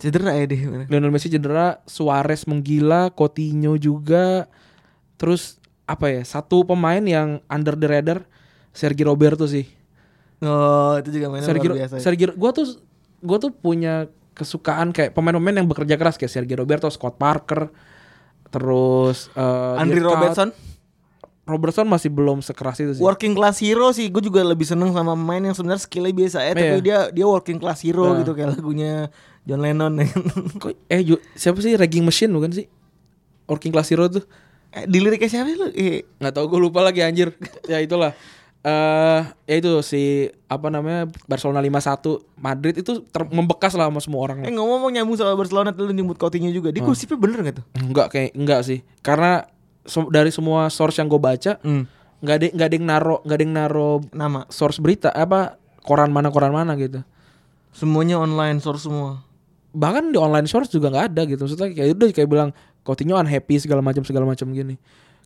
Cedera ya deh
Lionel Messi cedera, Suarez menggila, Coutinho juga. Terus apa ya? Satu pemain yang under the radar Sergio Roberto sih.
Oh, itu juga mainnya
Sergio,
luar biasa. ya.
Sergio, gue tuh gue tuh punya kesukaan kayak pemain-pemain yang bekerja keras kayak Sergio Roberto, Scott Parker, terus eh,
Andri
Dirk Kuyt.
Robertson,
Robertson masih belum sekeras itu sih.
working class hero sih. Gue juga lebih seneng sama pemain yang sebenarnya skillnya biasa ya, tapi
Iya.
dia dia working class hero
Nah.
gitu kayak lagunya John Lennon. ya.
Kok- eh Ju- siapa sih Ragging Machine bukan sih? Working Class Hero tuh.
eh, di liriknya siapa sih lu? Eh,
nggak tahu gue lupa lagi anjir. ya itulah. Eh ya itu si apa namanya Barcelona 51 Madrid itu ter- membekas lah sama semua orang.
eh ngomong-ngomong nyambung sama Barcelona tuh lu nyebut Coutinho juga.
Hmm.
Dia gosipnya bener gak tuh?
Enggak kayak enggak sih. Karena so- dari semua source yang gue baca nggak ada nggak ada yang naro nggak ada yang naro
Nama
source berita apa koran mana koran mana gitu.
semuanya online source semua.
Bahkan di online source juga nggak ada gitu. Maksudnya kayak udah kayak bilang Coutinho unhappy segala macam segala macam gini.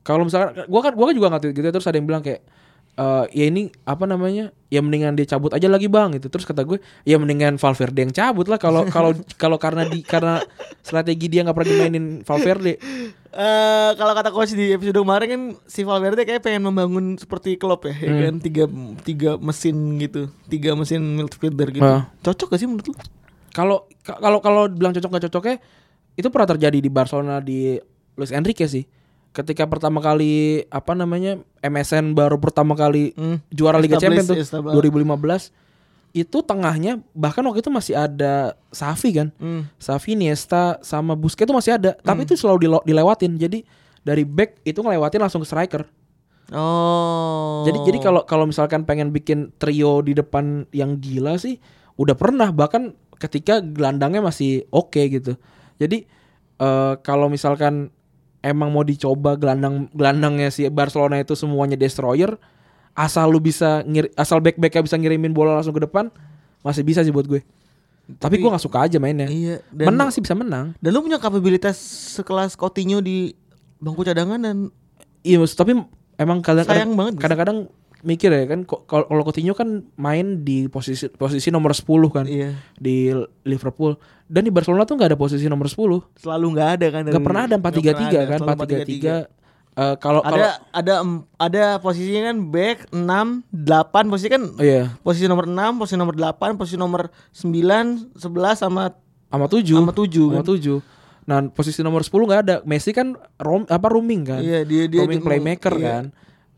Kalau misalkan gua kan gua kan juga nggak tahu gitu terus ada yang bilang kayak eh ya ini apa namanya ya mendingan dia cabut aja lagi bang gitu terus kata gue ya mendingan Valverde yang cabut lah kalau kalau kalau karena di karena strategi dia nggak pernah dimainin Valverde
Eh kalau kata coach di episode kemarin kan si Valverde kayak pengen membangun seperti Klopp ya, ya
Hmm.
kan tiga tiga mesin gitu, tiga mesin midfielder gitu.
Ah.
Cocok gak sih menurut lu?
kalau ka- kalau kalau bilang cocok nggak cocoknya itu pernah terjadi di Barcelona di Luis Enrique sih ketika pertama kali apa namanya MSN baru pertama kali
Hmm.
juara Liga Champions
Established,
tuh
established.
2015 itu tengahnya bahkan waktu itu masih ada Safi kan
Hmm.
Safi Niesta sama Busquets itu masih ada tapi itu selalu dilo- dilewatin jadi dari back itu ngelewatin langsung ke striker
Oh.
jadi jadi kalau kalau misalkan pengen bikin trio di depan yang gila sih udah pernah bahkan ketika gelandangnya masih oke gitu. Jadi eh, kalau misalkan emang mau dicoba gelandang gelandangnya si Barcelona itu semuanya destroyer asal lu bisa ngir, asal back backnya bisa ngirimin bola langsung ke depan masih bisa sih buat gue. Tapi, gue nggak suka aja mainnya.
iya dan,
menang sih bisa menang.
Dan lu punya kapabilitas sekelas Coutinho di bangku cadangan dan
Iya maksud- tapi emang kadang-kadang
sayang banget.
kadang-kadang mikir ya kan ko- kalau kalau Coutinho kan main di posisi posisi nomor 10 kan
iya,
di Liverpool dan di Barcelona tuh nggak ada posisi nomor 10
selalu nggak ada kan.
nggak
dari-
pernah ada 4-3-3 kan
Selalu
4-3-3 Eh, kalau
Ada
kalau
ada em- ada posisinya kan back 6, 8 posisi kan
oh iya
posisi nomor 6, posisi nomor 8, posisi nomor 9, 11 sama
sama 7
sama 7
sama
kan.
7 nah posisi nomor 10 nggak ada Messi kan rom, apa roaming kan
Iya, dia dia
roaming
cuma-
playmaker
iya,
kan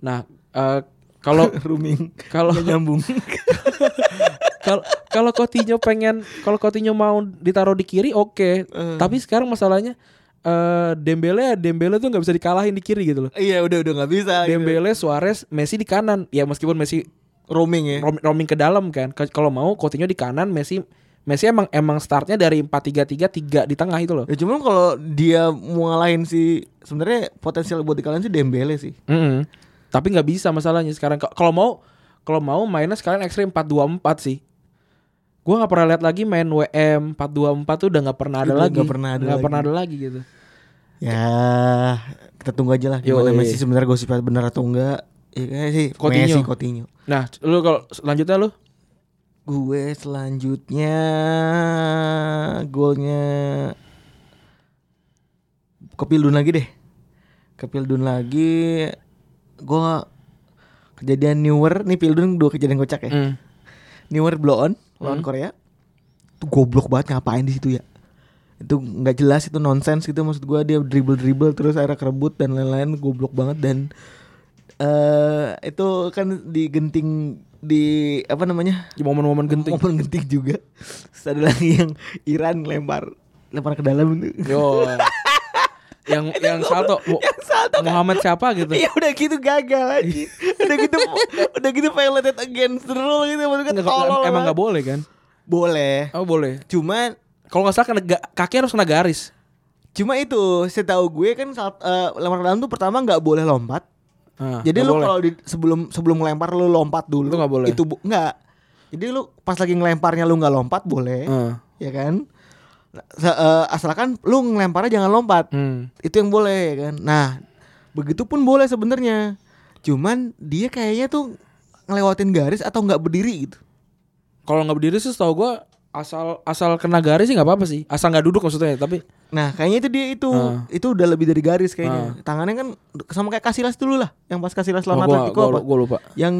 nah eh, kalau
roaming.
kalau
Nggak nyambung.
kalau kalau Coutinho pengen kalau Coutinho mau ditaruh di kiri oke
Eh.
tapi sekarang masalahnya eh Dembele Dembele tuh nggak bisa dikalahin di kiri gitu loh
iya, udah udah nggak bisa. gitu.
Dembele Suarez Messi di kanan ya meskipun Messi
roaming ya.
rom- roaming ke dalam kan Ke- kalau mau Coutinho di kanan Messi Messi emang emang startnya dari 4-3-3 3 di tengah itu loh
Ya cuman kalau dia mau ngalahin si sebenarnya potensial buat dikalahin si Dembele sih.
Mm-mm. tapi nggak bisa masalahnya sekarang Ka- kalau mau kalau mau mainnya sekarang ekstrim 4-2-4 sih gua nggak pernah lihat lagi main WM 4-2-4 tuh udah nggak pernah ada
Itu
lagi
nggak pernah ada
Nggak
lagi.
pernah ada lagi gitu
Ya, kita tunggu aja lah gimana
Yoi.
Messi sebenarnya gosipnya benar atau enggak. Ya kan sih
Coutinho.
Messi Coutinho.
nah lu kalau selanjutnya lu
Gue selanjutnya golnya Kepildun lagi deh. Kepildun lagi gue kejadian Newer nih Pildun dua kejadian kocak ya.
Mm.
Newer blow on lawan
Hmm.
Korea. Itu goblok banget ngapain di situ ya? Itu nggak jelas itu nonsens gitu maksud gua dia dribble-dribble terus akhirnya kerebut dan lain-lain goblok banget dan eh itu kan digenting di apa namanya?
di momen-momen genting
Momen genting juga. Terus ada lagi yang Iran lempar lempar ke dalam itu.
yo yang yang salto Mu-
Salto.
Muhammad siapa gitu
kan?
Iya.
Iya udah gitu gagal aja. udah gitu udah gitu violated against the rule gitu maksudnya
Nggak-
tolol.
emang
banget.
nggak boleh kan
boleh.
oh boleh
Cuman
Kalau nggak salah kena ga- kaki harus kena garis.
Cuma itu, setahu gue kan saat eh, lempar ke dalam tuh pertama nggak boleh lompat.
Nah,
Jadi
nggak
lu
boleh.
kalau di- sebelum sebelum ngelempar lu lompat dulu.
Itu nggak boleh.
Itu bu- nggak. Jadi lu pas lagi ngelemparnya lu nggak lompat boleh,
Heeh.
ya kan? Se- eh, asalkan lu ngelemparnya jangan lompat.
Hmm.
Itu yang boleh ya kan. Nah, begitu pun boleh sebenarnya. Cuman dia kayaknya tuh ngelewatin garis atau nggak berdiri gitu.
Kalau nggak berdiri sih, tau gue asal asal kena garis sih nggak apa-apa sih. Asal nggak duduk maksudnya. Tapi
Nah, kayaknya itu dia itu
Ah.
itu udah lebih dari garis kayaknya. Tangannya kan sama kayak Kasilas dulu lah, yang pas Kasilas lawan
gua,
Atletico
gua,
apa?
gua lupa.
yang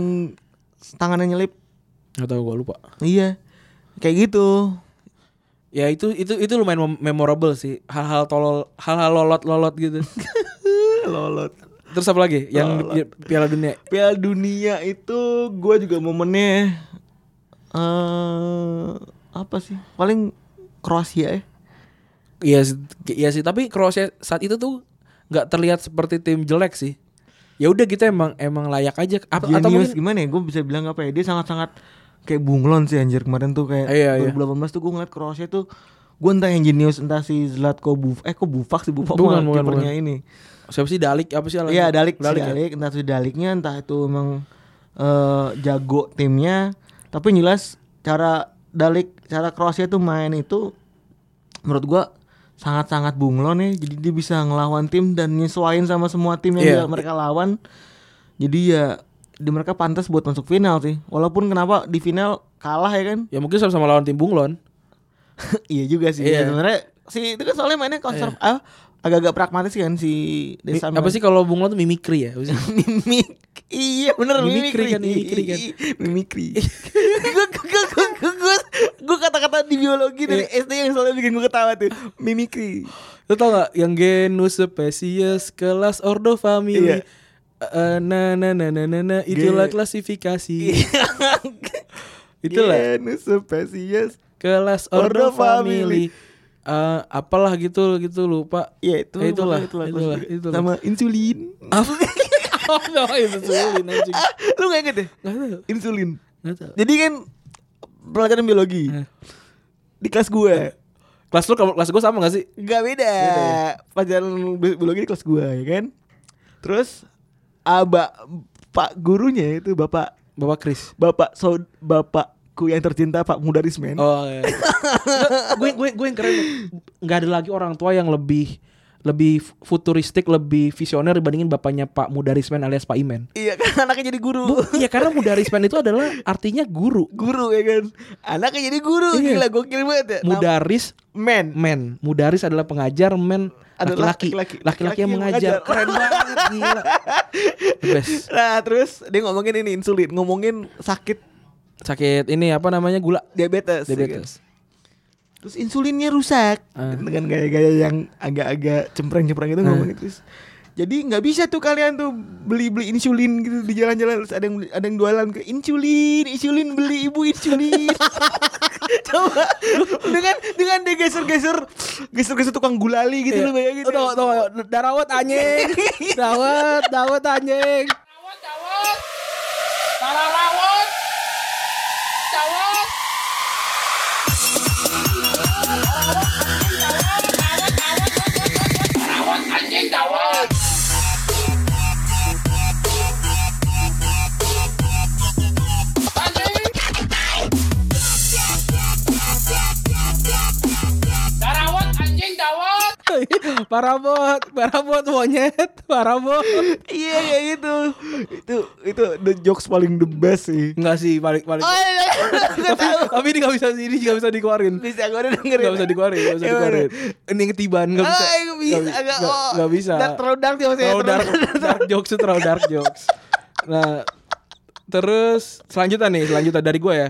tangannya nyelip
Nggak tahu gue lupa.
Iya. Kayak gitu.
Ya itu itu itu lumayan mem- memorable sih. Hal-hal tolol, hal-hal lolot-lolot gitu.
Lolot.
Terus apa lagi? Yang di- Piala Dunia.
Piala Dunia itu gue juga momennya eh apa sih? Paling Kroasia ya.
Iya sih, iya sih, tapi Kroasia saat itu tuh nggak terlihat seperti tim jelek sih. Ya udah kita emang emang layak aja Apa- atau
Genius
mungkin
gimana ya? Gue bisa bilang apa ya? Dia sangat-sangat kayak bunglon sih anjir kemarin tuh kayak
Iya, iya.
2018 tuh gue ngeliat Kroasia tuh gue entah yang jenius entah si Zlatko Buf eh kok Bufak sih Bufak
Bukan,
malah
bukan,
kipernya ini
siapa sih Dalik apa sih
Iya
Dalik,
dalik, dalik,
ya?
dalik entah itu daliknya entah itu emang eh, jago timnya, tapi yang jelas cara dalik cara Kroasia itu main itu menurut gua sangat-sangat bunglon ya. Jadi dia bisa ngelawan tim dan nyesuaiin sama semua tim yang
Iya.
dia- mereka lawan. Jadi ya di mereka pantas buat masuk final sih. Walaupun kenapa di final kalah ya kan?
Ya mungkin sama-sama lawan tim bunglon.
iya juga sih.
Iya.
Ya, Sebenarnya si itu kan soalnya mainnya konserv ah, agak-agak pragmatis kan si kan?
Mi-
Desa
apa sih kalau bunglon tuh mimikri ya? Apa sih?
mimik iya bener
Mimikri
mimikri
kan, mimikri kan.
mimikri gue kata-kata di biologi dari
Iya.
SD yang selalu bikin gue ketawa tuh mimikri
Lo tau gak yang genus spesies kelas ordo famili
Iya.
eh, na na na na na na itulah
Iya.
klasifikasi itulah
genus spesies
kelas ordo,
Ordo
famili
famili.
Eh, apalah gitu gitu lupa
ya itu
Ya, itulah,
pokoknya
itulah,
Terus
itulah.
sama insulin
oh no itu sulit anjing
lu gak inget ya
Gak tau
insulin
Gak tau
jadi kan pelajaran biologi
Eh.
di kelas gue
Kelas lu sama kelas gue sama gak sih?
Gak beda.
ya?
Pelajaran bi- biologi di kelas gua ya kan. Terus abah pak gurunya itu bapak
Bapak Kris
bapak so bapakku yang tercinta Pak Mudarismen.
Oh iya Gue gue gue yang keren Gak ada lagi orang tua yang lebih Lebih futuristik Lebih visioner dibandingin bapaknya Pak Mudarisman alias Pak Imen
Iya kan anaknya jadi guru.
Bu, Iya karena Mudarisman itu adalah artinya guru
guru ya kan. Anaknya jadi guru.
Iya.
Gila gokil banget ya. Nam-
Mudaris
men.
men Mudaris adalah pengajar men
Adalah
Laki-laki
laki-laki.
Laki-laki yang
Laki-laki yang
mengajar
mengajar.
Keren banget gila The best
Nah, terus dia ngomongin ini insulin, ngomongin sakit
Sakit ini apa namanya gula
diabetes. ya kan.
Diabetes
Terus insulinnya rusak
Ah.
dengan gaya-gaya yang agak-agak cempreng-cempreng itu ngomong
Ah.
itu. Jadi nggak bisa tuh kalian tuh beli-beli insulin gitu di jalan-jalan terus ada yang beli- ada yang jualan ke insulin, insulin beli ibu insulin. Coba dengan dengan dia geser-geser geser-geser tukang gulali gitu
Iya.
lu bayangin.
Tuh, tuh, tuh, darawat anjing. darawat, darawat anjing.
Cawat, cawat. Talarawat. Cawat. Cawat, cawat, cawat. Cawat, anjing, cawat. Anjing. Darawat, anjing, dawat.
parabot, parabot monyet, parabot.
Iya kayak gitu. Itu itu the jokes paling the best sih.
Enggak sih, balik balik.
Oh, iya,
tapi, tapi ini enggak bisa ini enggak bisa dikeluarin.
bisa gue udah ya. Iya, dengerin.
Enggak bisa dikeluarin, enggak bisa
Gimana?
dikeluarin. Ini yang ketiban enggak bisa.
Ah, nggak bisa,
Nggak-
agak
nggak-
oh,
nggak bisa.
dark- terlalu dark ya maksudnya.
Terlalu dark,
terlalu-
dark jokes itu terlalu dark jokes. Nah, terus selanjutnya nih, selanjutnya dari gue ya.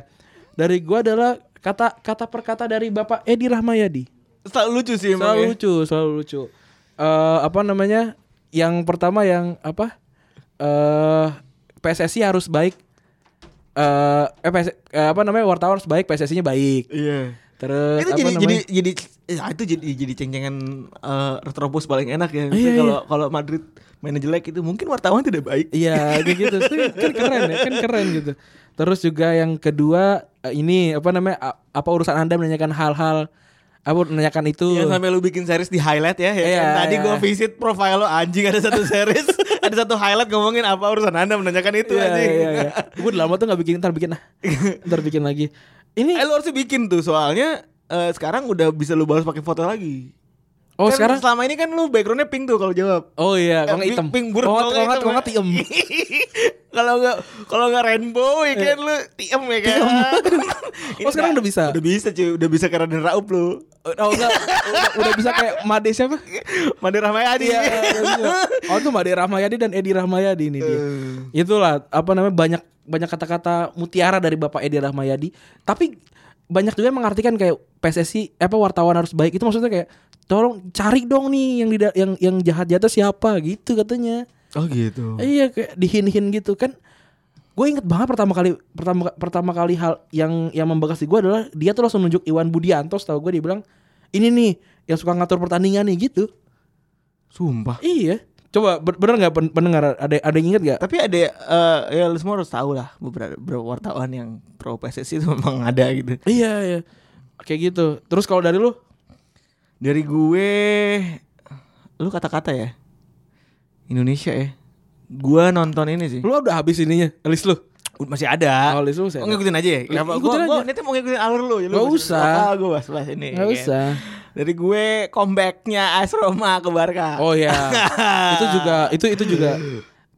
Dari gue adalah kata kata per kata dari Bapak Edi Rahmayadi.
Selalu lucu sih emang.
selalu
ya.
lucu selalu lucu Eh apa namanya yang pertama yang apa eh PSSI harus baik eh eh, PS eh, apa namanya wartawan harus baik PSSI-nya baik
Iya.
terus
Itu
apa
jadi, jadi
namanya
jadi ya, itu jadi jadi cengcengan eh, retrobus paling enak
Iya,
ya. Maksudnya
iya.
Kalau kalau Madrid mainnya jelek itu mungkin wartawan tidak baik.
iya kayak gitu Itu kan keren ya kan keren gitu terus juga yang kedua eh, ini apa namanya a- apa urusan anda menanyakan hal-hal apa menanyakan itu
Ya sampai lu bikin series di highlight ya. ya
Iya,
kan? Tadi
iya.
gua visit profile lo anjing ada satu series, ada satu highlight ngomongin apa urusan Anda menanyakan itu
Iya,
anjing.
iya, iya. Gue udah lama tuh gak bikin, ntar bikin ah, ntar bikin lagi. Ini
Eh lu harus bikin tuh soalnya eh, sekarang udah bisa lu balas pakai foto lagi.
oh
Kan
sekarang
selama ini kan lu backgroundnya pink tuh kalau jawab.
Oh iya, kalau
Eh,
nggak hitam.
Pink, pink buruk.
Kalau nggak- kalau nggak
hitam
tiem.
ya. Kalau nggak kalau nggak rainbow ya kan lu tiem ya kan. Ini
Eh. Oh, sekarang
nggak-
udah bisa?
Udah bisa cuy, udah bisa karena dan Raup lu.
Oh enggak, udah, udah bisa kayak Made siapa?
Mandi Rahmayadi.
Iya.
Eh.
udah bisa. oh itu Made Rahmayadi dan Edi Rahmayadi ini dia. Itulah apa namanya banyak banyak kata-kata mutiara dari Bapak Edi Rahmayadi. Tapi banyak juga yang mengartikan kayak PSSI apa wartawan harus baik itu maksudnya kayak tolong cari dong nih yang di da- yang yang jahat-jahatnya siapa gitu katanya.
Oh gitu.
Iya kayak dihin-hin gitu kan. Gue inget banget pertama kali pertama pertama kali hal yang yang membekas di gue adalah dia tuh langsung nunjuk Iwan Budianto, setahu gue dia bilang ini nih yang suka ngatur pertandingan nih gitu.
Sumpah.
Iya. Coba ber- bener nggak pen- pendengar ada ada yang inget gak?
Tapi ada eh, ya lu semua harus tahu lah beberapa, beberapa wartawan yang pro PSSI itu memang ada gitu.
Iya iya. Kayak gitu. Terus kalau dari lu?
Dari gue lu kata-kata ya. Indonesia ya. Gue nonton ini sih.
Lu udah habis ininya list lu.
Ud- Masih ada.
Oh, list lu masih
Oh,
ada.
ngikutin aja ya.
Li-
Apa?
ikutin
Gua, gua
aja.
nanti mau ngikutin alur lu. ya, lu
Nggak
bahas-
usah.
Lokal gue bahas bahas ini.
Nggak
ya kan?
usah.
Dari gue comebacknya AS Roma ke Barca.
Oh iya. itu juga itu itu juga.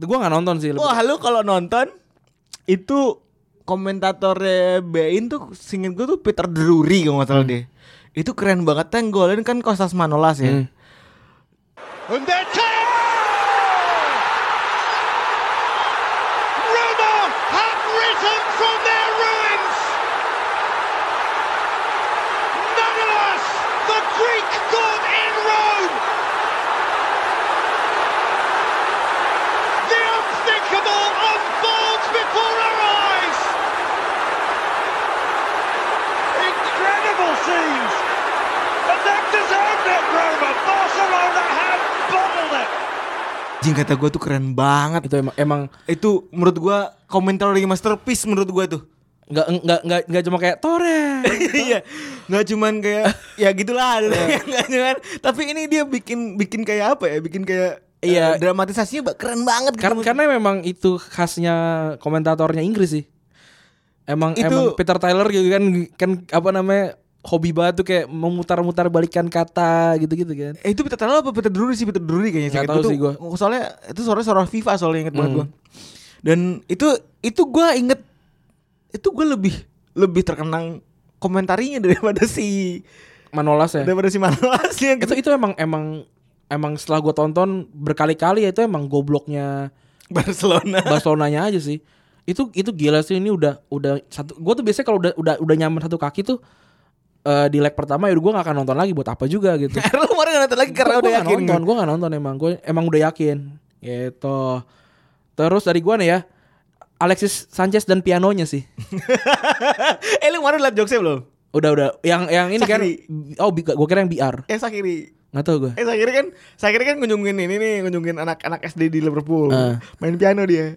Gua nggak nonton sih. lebih-
Wah lu kalau nonton itu komentatornya Bein tuh singin gue tuh Peter Drury kalau nggak salah
Hmm.
deh. Itu keren banget yang golin kan Kostas Manolas ya.
Hmm.
And that's it! Roma have risen from their ruins! Manolas, the Greek god in Rome! The unthinkable unfolds before our eyes! Incredible scenes! And they deserved it, Roma! Barcelona have bottled it!
Jing kata gue tuh keren banget.
Itu emang emang
Itu menurut gue commentary masterpiece menurut gue tuh.
nggak nggak nggak nggak cuma kayak Torres.
Iya, nggak cuman kayak ya gitulah, nggak cuman. Tapi ini dia bikin bikin kayak apa ya? Bikin kayak
Iya.
eh, dramatisasinya ba- keren banget. gitu.
karena karena memang itu khasnya komentatornya Inggris sih. Emang
Itu-
emang Peter Tyler gitu kan kan apa namanya hobi banget tuh kayak memutar-mutar balikan kata gitu-gitu kan.
Eh, itu Peter Tala apa Peter Drury sih Peter Drury
Nggak
kayaknya Seingat
tahu
gua Hmm. tuh,
sih gua.
Soalnya itu sore sore FIFA soalnya inget banget gua. Dan itu itu gua inget itu gua lebih lebih terkenang komentarinya daripada si
Manolas ya.
daripada si gitu. Manolasnya
Itu itu emang emang emang setelah gua tonton berkali-kali ya itu emang gobloknya
Barcelona.
Barcelonanya aja sih. Itu itu gila sih ini udah udah satu gua tuh biasanya kalau udah udah udah nyaman satu kaki tuh eh di leg pertama ya udah gua gak akan nonton lagi buat apa juga gitu.
Karena Eh, lu kemarin nggak nonton lagi karena
Gua-
udah
gua nggak
yakin. gitu.
nonton, gue gak nonton emang gue emang udah yakin gitu terus dari gue nih ya Alexis Sanchez dan pianonya sih
eh lu kemarin liat jokesnya belum?
udah udah yang yang ini
Sakiri.
kan oh gue kira yang BR
Eh Sakiri.
nggak tahu gue
Eh Sakiri kan Sakiri kan kunjungin ini nih, kunjungin anak-anak SD di Liverpool.
Eh.
Main piano
Eh.
dia.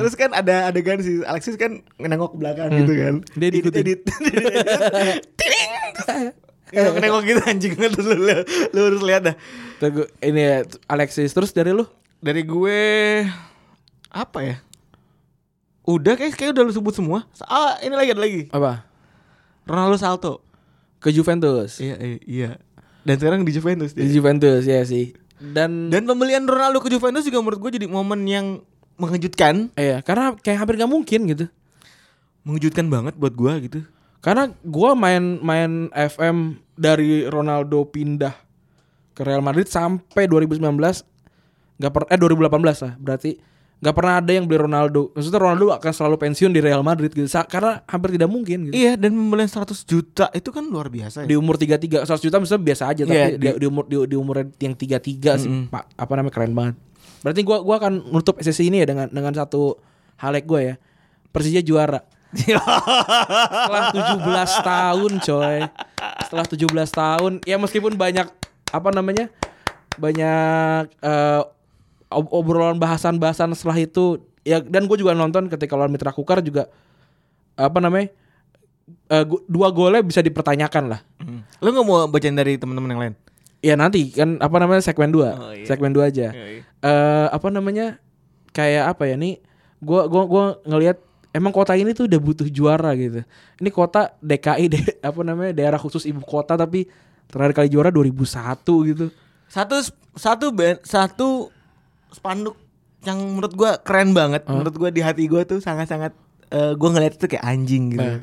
Terus kan ada adegan si Alexis kan nengok ke belakang gitu kan.
Hmm. Dia diikutin.
Edit, edit, edit. Ting! Nengok nengok gitu anjing terus lu, lu, lu harus lihat dah.
Tuh, gua- ini ya, Alexis terus dari lu
Dari gue apa ya? Udah kayak kayak udah lu sebut semua. Ah, ini lagi ada lagi.
apa
Ronaldo Salto.
ke Juventus
Iya, iya, iya. Dan sekarang di Juventus
di
dia.
Juventus ya sih dan,
Dan pembelian Ronaldo ke Juventus juga menurut gue jadi momen yang mengejutkan,
iya karena kayak hampir gak mungkin gitu
mengejutkan banget buat gue gitu.
karena gue main main FM dari Ronaldo pindah ke Real Madrid sampai 2019 nggak per eh 2018 lah berarti nggak pernah ada yang beli Ronaldo maksudnya Ronaldo akan selalu pensiun di Real Madrid gitu Sa- karena hampir tidak mungkin gitu.
Iya, dan pembelian 100 juta itu kan luar biasa
di
ya.
umur 33 100 juta misalnya biasa aja tapi
Iya,
di, di umur di, di umur yang 33 sih Pak apa namanya keren banget berarti gue gua akan nutup sesi ini ya dengan dengan satu halek gue ya Persija juara setelah 17 tahun coy setelah 17 tahun ya meskipun banyak apa namanya banyak eh, ob- obrolan bahasan-bahasan setelah itu ya dan gue juga nonton ketika lawan Mitra Kukar juga apa namanya eh, gu- dua golnya bisa dipertanyakan lah
Hmm. Lo nggak mau bacain dari teman-teman yang lain?
ya nanti kan apa namanya segmen 2
Oh, iya.
segmen 2 aja eh apa namanya kayak apa ya nih gua gua gua ngelihat emang kota ini tuh udah butuh juara gitu ini kota DKI de- apa namanya daerah khusus ibu kota tapi terakhir kali juara 2001 gitu
Satu satu ben- satu spanduk yang menurut gua keren banget. Menurut gua di hati gua tuh sangat-sangat eh, gua ngeliat itu kayak anjing
Eh.
gitu.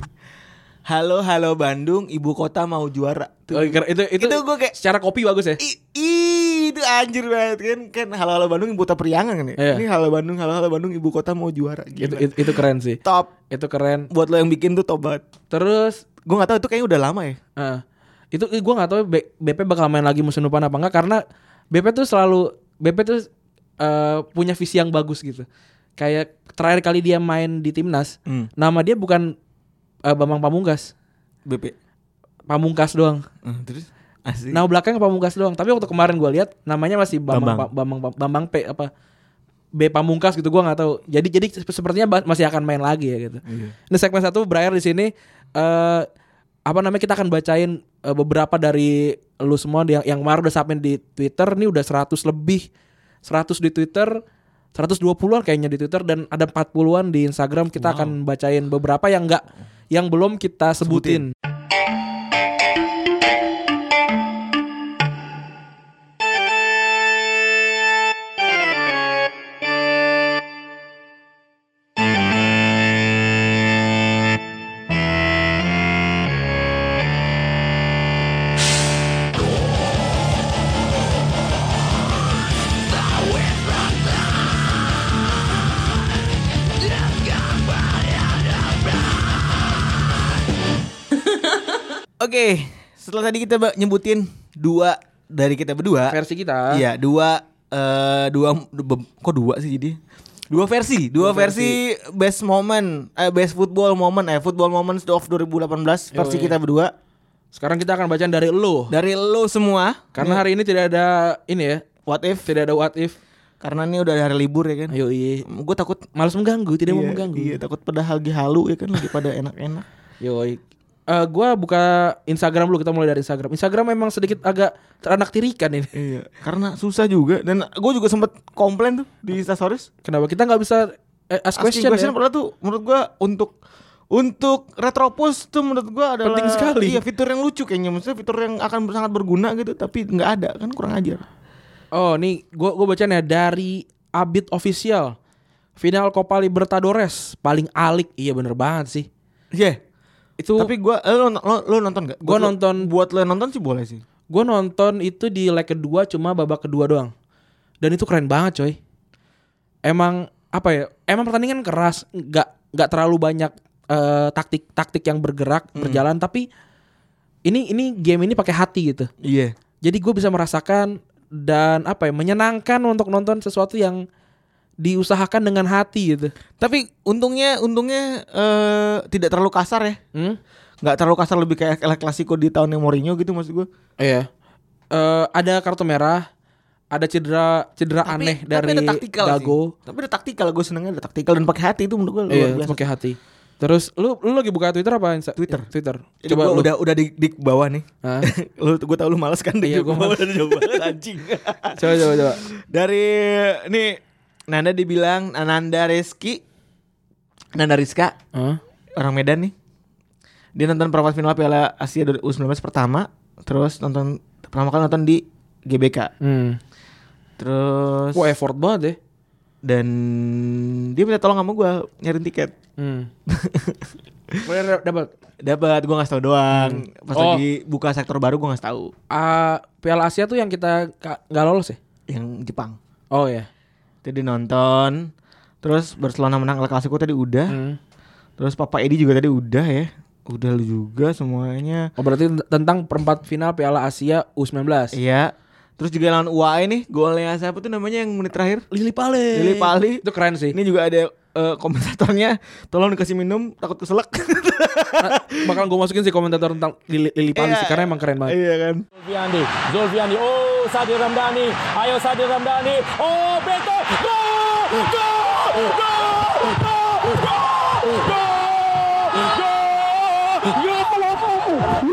Halo halo Bandung, ibu kota mau juara. Tuh.
Oh, itu itu,
Itu gua kayak-
secara kopi bagus ya
I, i- itu anjir banget kan kan halo-halo Bandung ibu kota periangan kan ya.
Iya.
Ini halo Bandung halo-halo Bandung ibu kota mau juara gitu.
Itu, itu, itu keren sih.
top
Itu keren.
buat lo yang bikin tuh top banget.
Terus
Gue nggak tahu itu kayaknya udah lama ya.
eh, itu gue nggak tahu B- BP bakal main lagi musim depan apa enggak karena BP tuh selalu BP tuh eh, punya visi yang bagus gitu. Kayak terakhir kali dia main di timnas,
Hmm.
nama dia bukan eh, Bambang Pamungkas,
BP.
Pamungkas doang.
Hmm, terus asli.
Nama belakang Pamungkas doang. Tapi waktu kemarin gue lihat namanya masih Bambang
Bambang.
Pa- Bambang Bambang, P apa B Pamungkas gitu gua nggak tahu. Jadi jadi sep- sepertinya ba- masih akan main lagi ya gitu. Ini segmen satu berakhir di sini eh apa namanya kita akan bacain eh, beberapa dari lu semua yang yang kemarin udah submit di Twitter nih udah 100 lebih. 100 di Twitter 120-an kayaknya di Twitter dan ada 40-an di Instagram kita akan bacain beberapa yang enggak yang belum kita sebutin.
Oke, setelah tadi kita ba- nyebutin dua dari kita berdua.
Versi kita.
Iya, dua eh dua be- kok dua sih jadi? Dua versi, dua, versi, best moment, eh best football moment, eh football moments of 2018 versi kita berdua
Sekarang kita akan bacaan dari lu.
dari lo semua.
Karena hari ini tidak ada ini ya,
What if?
tidak ada what if.
Karena ini udah hari libur ya kan.
Ayo iya.
Gue takut
Males mengganggu, tidak mau
Iya,
mengganggu.
Iya, takut pada lagi halu ya kan lagi pada enak-enak.
Yoi. Eh, gua buka Instagram dulu, kita mulai dari Instagram. Instagram memang sedikit agak teranak tirikan ini.
iya, karena susah juga dan gue juga sempet komplain tuh di Instastories.
Kenapa kita nggak bisa eh, ask
Asking
question,
question
ya?
padahal tuh menurut gua untuk untuk retropus tuh menurut gua adalah
Penting sekali.
Iya, fitur yang lucu kayaknya. Maksudnya fitur yang akan sangat berguna gitu tapi nggak ada kan kurang ajar.
Oh, nih gua gua bacaan ya dari Abid Official. Final Copa Libertadores paling alik. Iya bener banget sih.
Iya.
Itu
Tapi gua eh, lo, lo, lo nonton gak?
Gua
Buat lo-
nonton.
buat lo yang nonton sih boleh sih.
gua nonton itu di leg kedua cuma babak kedua doang. Dan itu keren banget, coy. Emang apa ya? Emang pertandingan keras, nggak nggak terlalu banyak eh, taktik-taktik yang bergerak,
Hmm.
berjalan tapi ini ini game ini pakai hati gitu.
Iya.
Jadi gue bisa merasakan dan apa ya menyenangkan untuk nonton sesuatu yang diusahakan dengan hati gitu.
Tapi untungnya untungnya eh, tidak terlalu kasar ya.
Hmm?
Nggak terlalu kasar lebih kayak El Clasico di tahun yang Mourinho gitu maksud gua.
Iya. Eh, ada kartu merah, ada cedera cedera aneh dari
ada taktikal
Dago.
Sih. Tapi ada taktikal, gue senengnya ada taktikal dan pakai hati itu menurut gue luar
Iya,
biasa.
pakai hati. Terus lu lu lagi buka Twitter apa Insta?
Twitter.
Twitter.
Jadi
Coba
gua
lu.
udah udah di, di bawah nih.
Hah?
lu gue tau lu malas kan di
Iya, gua
gua bawah
malas.
udah coba anjing.
Coba coba coba.
Dari nih Nanda dibilang Nanda Reski Nanda Rizka
Hah?
orang Medan nih. Dia nonton perempat final Piala Asia U19 pertama, terus nonton pertama kali nonton di GBK.
Hmm.
Terus
Wah, effort banget ya.
dan dia minta tolong sama gue nyariin tiket.
Hmm. Boleh dapat.
Dapat gue ngasih tau doang. Pas
Oh.
lagi buka sektor baru gue ngasih tahu
Ah, Piala Asia tuh yang kita ka- nggak lolos ya?
yang Jepang.
Oh ya.
Jadi nonton. Terus Barcelona menang El Clasico tadi udah.
Hmm.
Terus Papa Edi juga tadi udah ya. Udah lu juga semuanya.
Oh berarti tent- tentang perempat final Piala Asia U19.
Iya. Terus juga lawan UAE nih golnya siapa tuh namanya yang menit terakhir?
Lili Pali.
Lili Pali.
Itu keren sih.
Ini juga ada eh, komentatornya tolong dikasih minum takut keselak.
Ah, Bakal gue masukin sih komentator tentang Lili, Lili Pali sih
Iya.
karena emang keren banget.
iya kan.
Zulfiandi, Zulfiandi, oh Sadir Ramdhani, ayo Sadir Ramdhani, oh Beto, gol, gol, gol, gol, gol, gol, gol, ya Allah, ya Allah, ya Allah.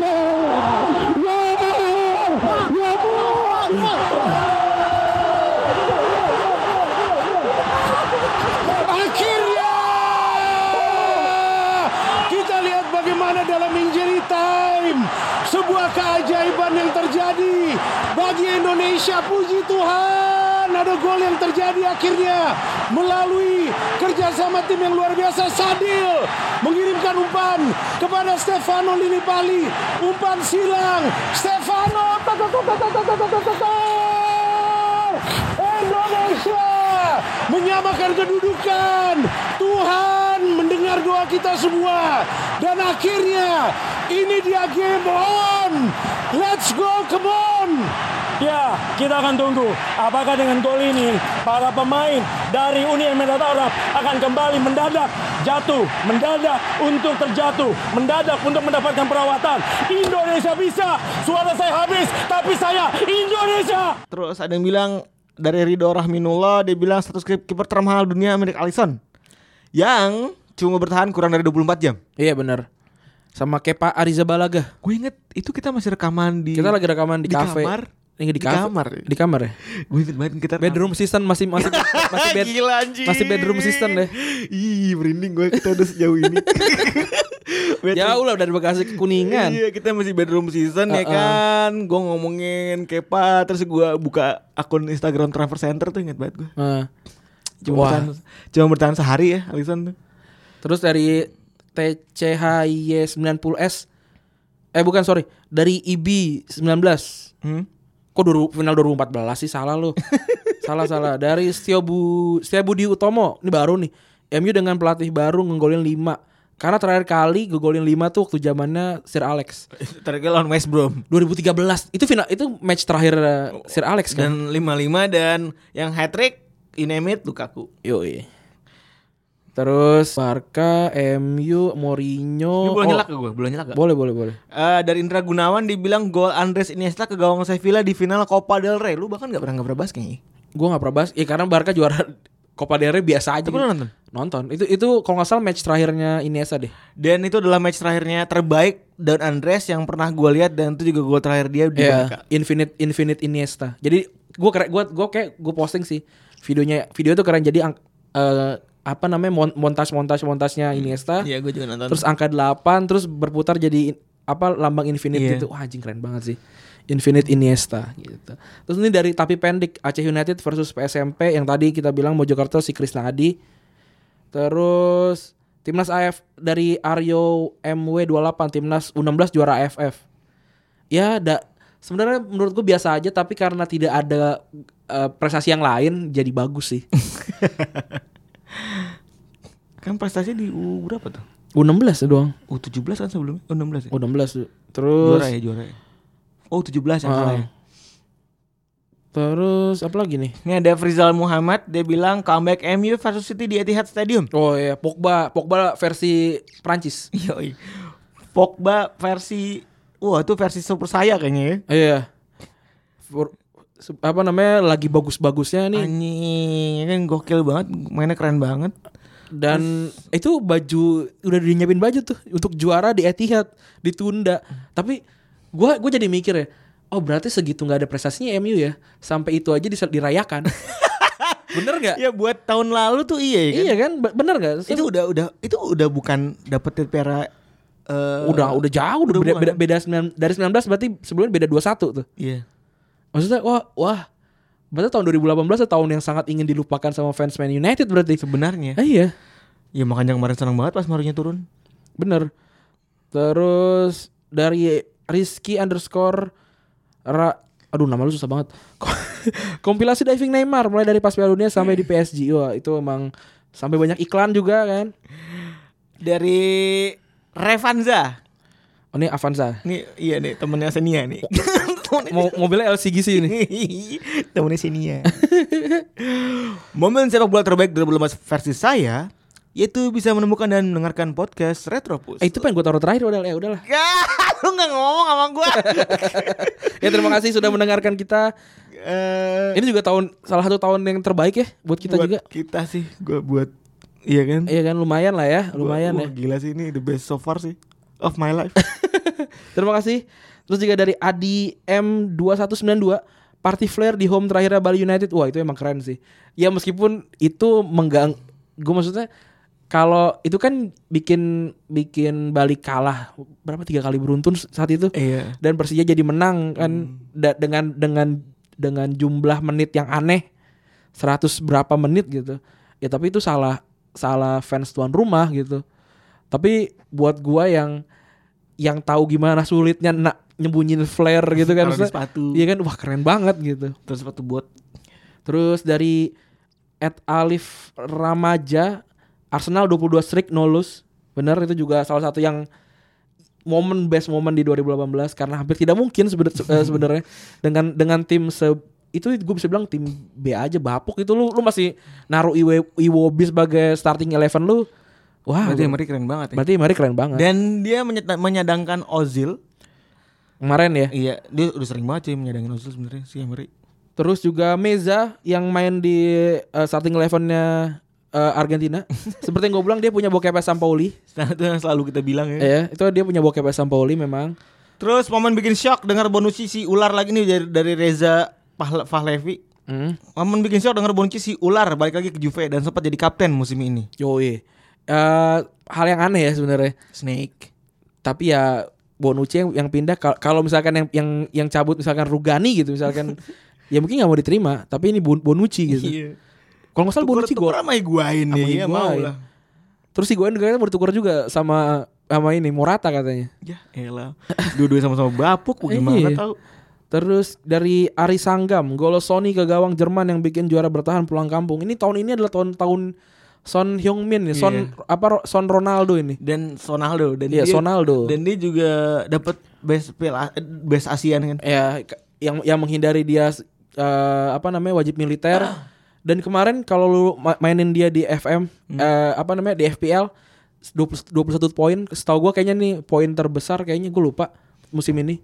Akhirnya kita lihat bagaimana dalam injury time sebuah keajaiban yang terjadi bagi Indonesia puji Tuhan ada gol yang terjadi akhirnya melalui kerjasama tim yang luar biasa Sadil mengirimkan umpan kepada Stefano Lillipali umpan silang Stefano tok, tok, tok, tok, tok, tok, tok, tok, tok, tok. Indonesia menyamakan kedudukan. Tuhan mendengar doa kita semua dan akhirnya ini dia game on. Let's go, come on!
Ya, kita akan tunggu apakah dengan gol ini para pemain dari Uni Emirat Arab akan kembali mendadak jatuh, mendadak untuk terjatuh, mendadak untuk mendapatkan perawatan. Indonesia bisa. Suara saya habis, tapi saya Indonesia.
Terus ada yang bilang dari Ridho Rahminullah dia bilang status kip- kiper termahal dunia Milik Alisson yang cuma bertahan kurang dari 24 jam.
Iya benar. Sama Kepa Arizabalaga.
Gue inget itu kita masih rekaman di
Kita lagi rekaman di,
di
kafe.
kamar.
Ini di,
Di
kafe.
kamar.
Di kamar ya.
Gue inget banget kita rekaman.
Bedroom assistant masih masih masih bed,
Gila anjing.
masih bedroom assistant deh.
Ih, merinding gue kita udah sejauh ini. Bedroom-
Jauh lah dari Bekasi ke Kuningan.
Iya kita masih bedroom season ya
Uh-uh.
kan Gue ngomongin Kepa Terus gue buka akun Instagram Transfer Center tuh inget banget gue
Nah,
Cuma,
Wah.
bertahan, cuma bertahan sehari ya Alisson tuh
Terus dari E TCHY90S Eh bukan sorry Dari IB19
Hmm?
Kok dulu, final 2014 sih salah lu Salah-salah Dari Setiobu Setiabudi Utomo Ini baru nih MU dengan pelatih baru nggolin 5 Karena terakhir kali ngegolin 5 tuh waktu zamannya Sir Alex
Terakhir lawan West Brom
2013 Itu final itu match terakhir eh, Sir Alex kan
Dan 5-5 dan yang hat-trick Inemit Lukaku
Yoi Terus Barca, MU,
Ini
Mourinho Oh,
boleh nyelak ke gue, boleh nyelak gak?
Boleh boleh boleh
Eh, dari Indra Gunawan dibilang gol Andres Iniesta ke gawang Sevilla di final Copa del Rey. Lu bahkan gak pernah gak pernah bahas kayaknya.
gue nggak pernah bahas ya karena Barca juara Copa del Rey biasa aja
Tapi lu nonton?
nonton itu itu kalau nggak salah match terakhirnya Iniesta deh
Dan itu adalah match terakhirnya terbaik dan Andres yang pernah gue lihat dan itu juga gol terakhir dia di Barca.
Iya, infinite infinite Iniesta jadi gue keren gue gue kayak gue posting sih videonya video itu keren jadi ang- eh, apa namanya mon- montas montas montasnya Iniesta
Iya, gue juga nonton.
terus angka 8 terus berputar jadi in- apa lambang infinite
Iya.
gitu wah anjing keren banget sih Infinite Iniesta gitu. Terus ini dari tapi pendek Aceh United versus PSMP yang tadi kita bilang Mojokerto si Krisna Adi. Terus Timnas AF dari Aryo MW28 Timnas U16 juara AFF. Ya da, sebenarnya menurut gue biasa aja tapi karena tidak ada eh, prestasi yang lain jadi bagus sih.
Kan prestasi di U berapa tuh?
U16 ya doang.
U17 kan sebelumnya? U16 ya?
U16.
Juara
Terus
ya, juara ya. Oh, 17 yang
Ah.
salah ya.
terus apa lagi nih?
Ini ada Frizal Muhammad, dia bilang comeback MU versus City di Etihad Stadium.
Oh iya, Pogba, Pogba versi Prancis.
Yoi. Pogba versi Wah itu versi super saya kayaknya ya
Iya. For- se- apa namanya lagi bagus-bagusnya nih
Anjing ya kan gokil banget Mainnya keren banget
dan itu baju udah dinyiapin baju tuh untuk juara di Etihad ditunda. Tapi gua gua jadi mikir ya, oh berarti segitu nggak ada prestasinya MU ya. Sampai itu aja dis- dirayakan. bener nggak?
Ya buat tahun lalu tuh iya ya kan
Iya kan? Be- Bener nggak?
Itu udah udah itu udah bukan dapetin piala eh,
udah udah jauh udah beda,
bukan.
beda, beda 9 dari 19 berarti sebelumnya beda 21 tuh.
Iya.
Maksudnya wah wah berarti tahun 2018 tahun yang sangat ingin dilupakan sama fans Man United berarti.
Sebenarnya.
Ah, iya,
Ya makanya kemarin senang banget pas Marunya turun.
bener. Terus dari Rizky underscore Ra Aduh nama lu susah banget Kompilasi diving Neymar Mulai dari pas Piala Dunia sampai di PSG Wah itu emang Sampai banyak iklan juga kan
Dari Revanza.
Oh ini Avanza
Nih iya nih temennya Senia nih.
Mo Mobilnya LCG sih ini
temennya Senia. Momen sepak bola terbaik 2018 versi saya yaitu bisa menemukan dan mendengarkan podcast Retropus.
Eh itu pengen gue taruh terakhir udah eh, udahlah
Gak, lu gak ngomong sama gue
Ya terima kasih sudah mendengarkan kita
Eh,
Ini juga tahun Salah satu tahun yang terbaik ya Buat kita
buat
juga
Kita sih, gue buat Iya kan?
Iya kan lumayan lah ya, lumayan
Wah,
ya.
Gila sih ini the best so far sih Of my life
Terima kasih. Terus juga dari Adi M2192 Party Flare di home terakhirnya Bali United. Wah, itu emang keren sih. Ya meskipun itu menggang gue maksudnya kalau itu kan bikin bikin Bali kalah berapa tiga kali beruntun saat itu
Iya Hmm.
dan Persija jadi menang kan Da- dengan dengan dengan jumlah menit yang aneh 100 berapa menit gitu ya tapi itu salah salah fans tuan rumah gitu tapi buat gua yang yang tahu gimana sulitnya nak nyembunyiin flare gitu kan
Taruh di
maksudnya,
sepatu.
iya kan wah keren banget gitu
Terus sepatu buat
Terus dari Ed Alif Ramaja Arsenal 22 streak no lose. Bener itu juga salah satu yang momen best momen di 2018 karena hampir tidak mungkin sebener- se- eh, sebenarnya dengan dengan tim se itu gue bisa bilang tim B aja bapuk itu lu lu masih naruh Iwe- Iwobi sebagai starting eleven lu. Wah,
Berarti
gua-
Emery keren banget ya.
berarti Emery keren banget.
Dan dia menyet- menyadangkan Ozil.
Kemarin ya.
Iya, dia udah sering banget sih menyadangkan Ozil sebenarnya si Emery.
Terus juga Meza yang main di eh, starting elevennya eh, Argentina. Seperti yang gue bilang dia punya bokep Sampaoli.
Nah, itu yang selalu kita bilang ya.
Ya, itu dia punya bokep Sampaoli memang.
Terus momen bikin shock dengar bonus si ular lagi nih dari, dari Reza Pahle- Fahlevi.
Hmm.
Momen bikin shock dengar bonus si ular balik lagi ke Juve dan sempat jadi kapten musim ini.
Yoi. Eh, hal yang aneh ya sebenarnya.
Snake.
Tapi ya Bonucci yang, yang pindah kal- kalau misalkan yang yang yang cabut misalkan Rugani gitu misalkan ya mungkin nggak mau diterima, tapi ini Bon- Bonucci gitu.
Iya.
Kalau nggak salah
Tukar,
Bonucci
tukar
gol.
sama Higuain
Sama
ya. Iya, mau
Higuain.
lah.
Terus si Goen katanya bertukar juga sama sama ini Morata katanya.
Ya, elah. Dua-dua sama-sama bapuk bagaimana
Iya.
tahu.
Terus dari Ari Sanggam, gol Sony ke gawang Jerman yang bikin juara bertahan pulang kampung. Ini tahun ini adalah tahun-tahun Son Heung-min nih, Son apa Ro- Son Ronaldo ini.
Dan Sonaldo dan
Iya, Sonaldo.
Dan dia juga dapat best Piala- best Asian kan.
Ya k- yang yang menghindari dia eh, apa namanya wajib militer. Dan kemarin kalau lu ma- mainin dia di FM eh, apa namanya di FPL 20, 21 poin, setahu gua kayaknya nih poin terbesar kayaknya gue lupa musim ini.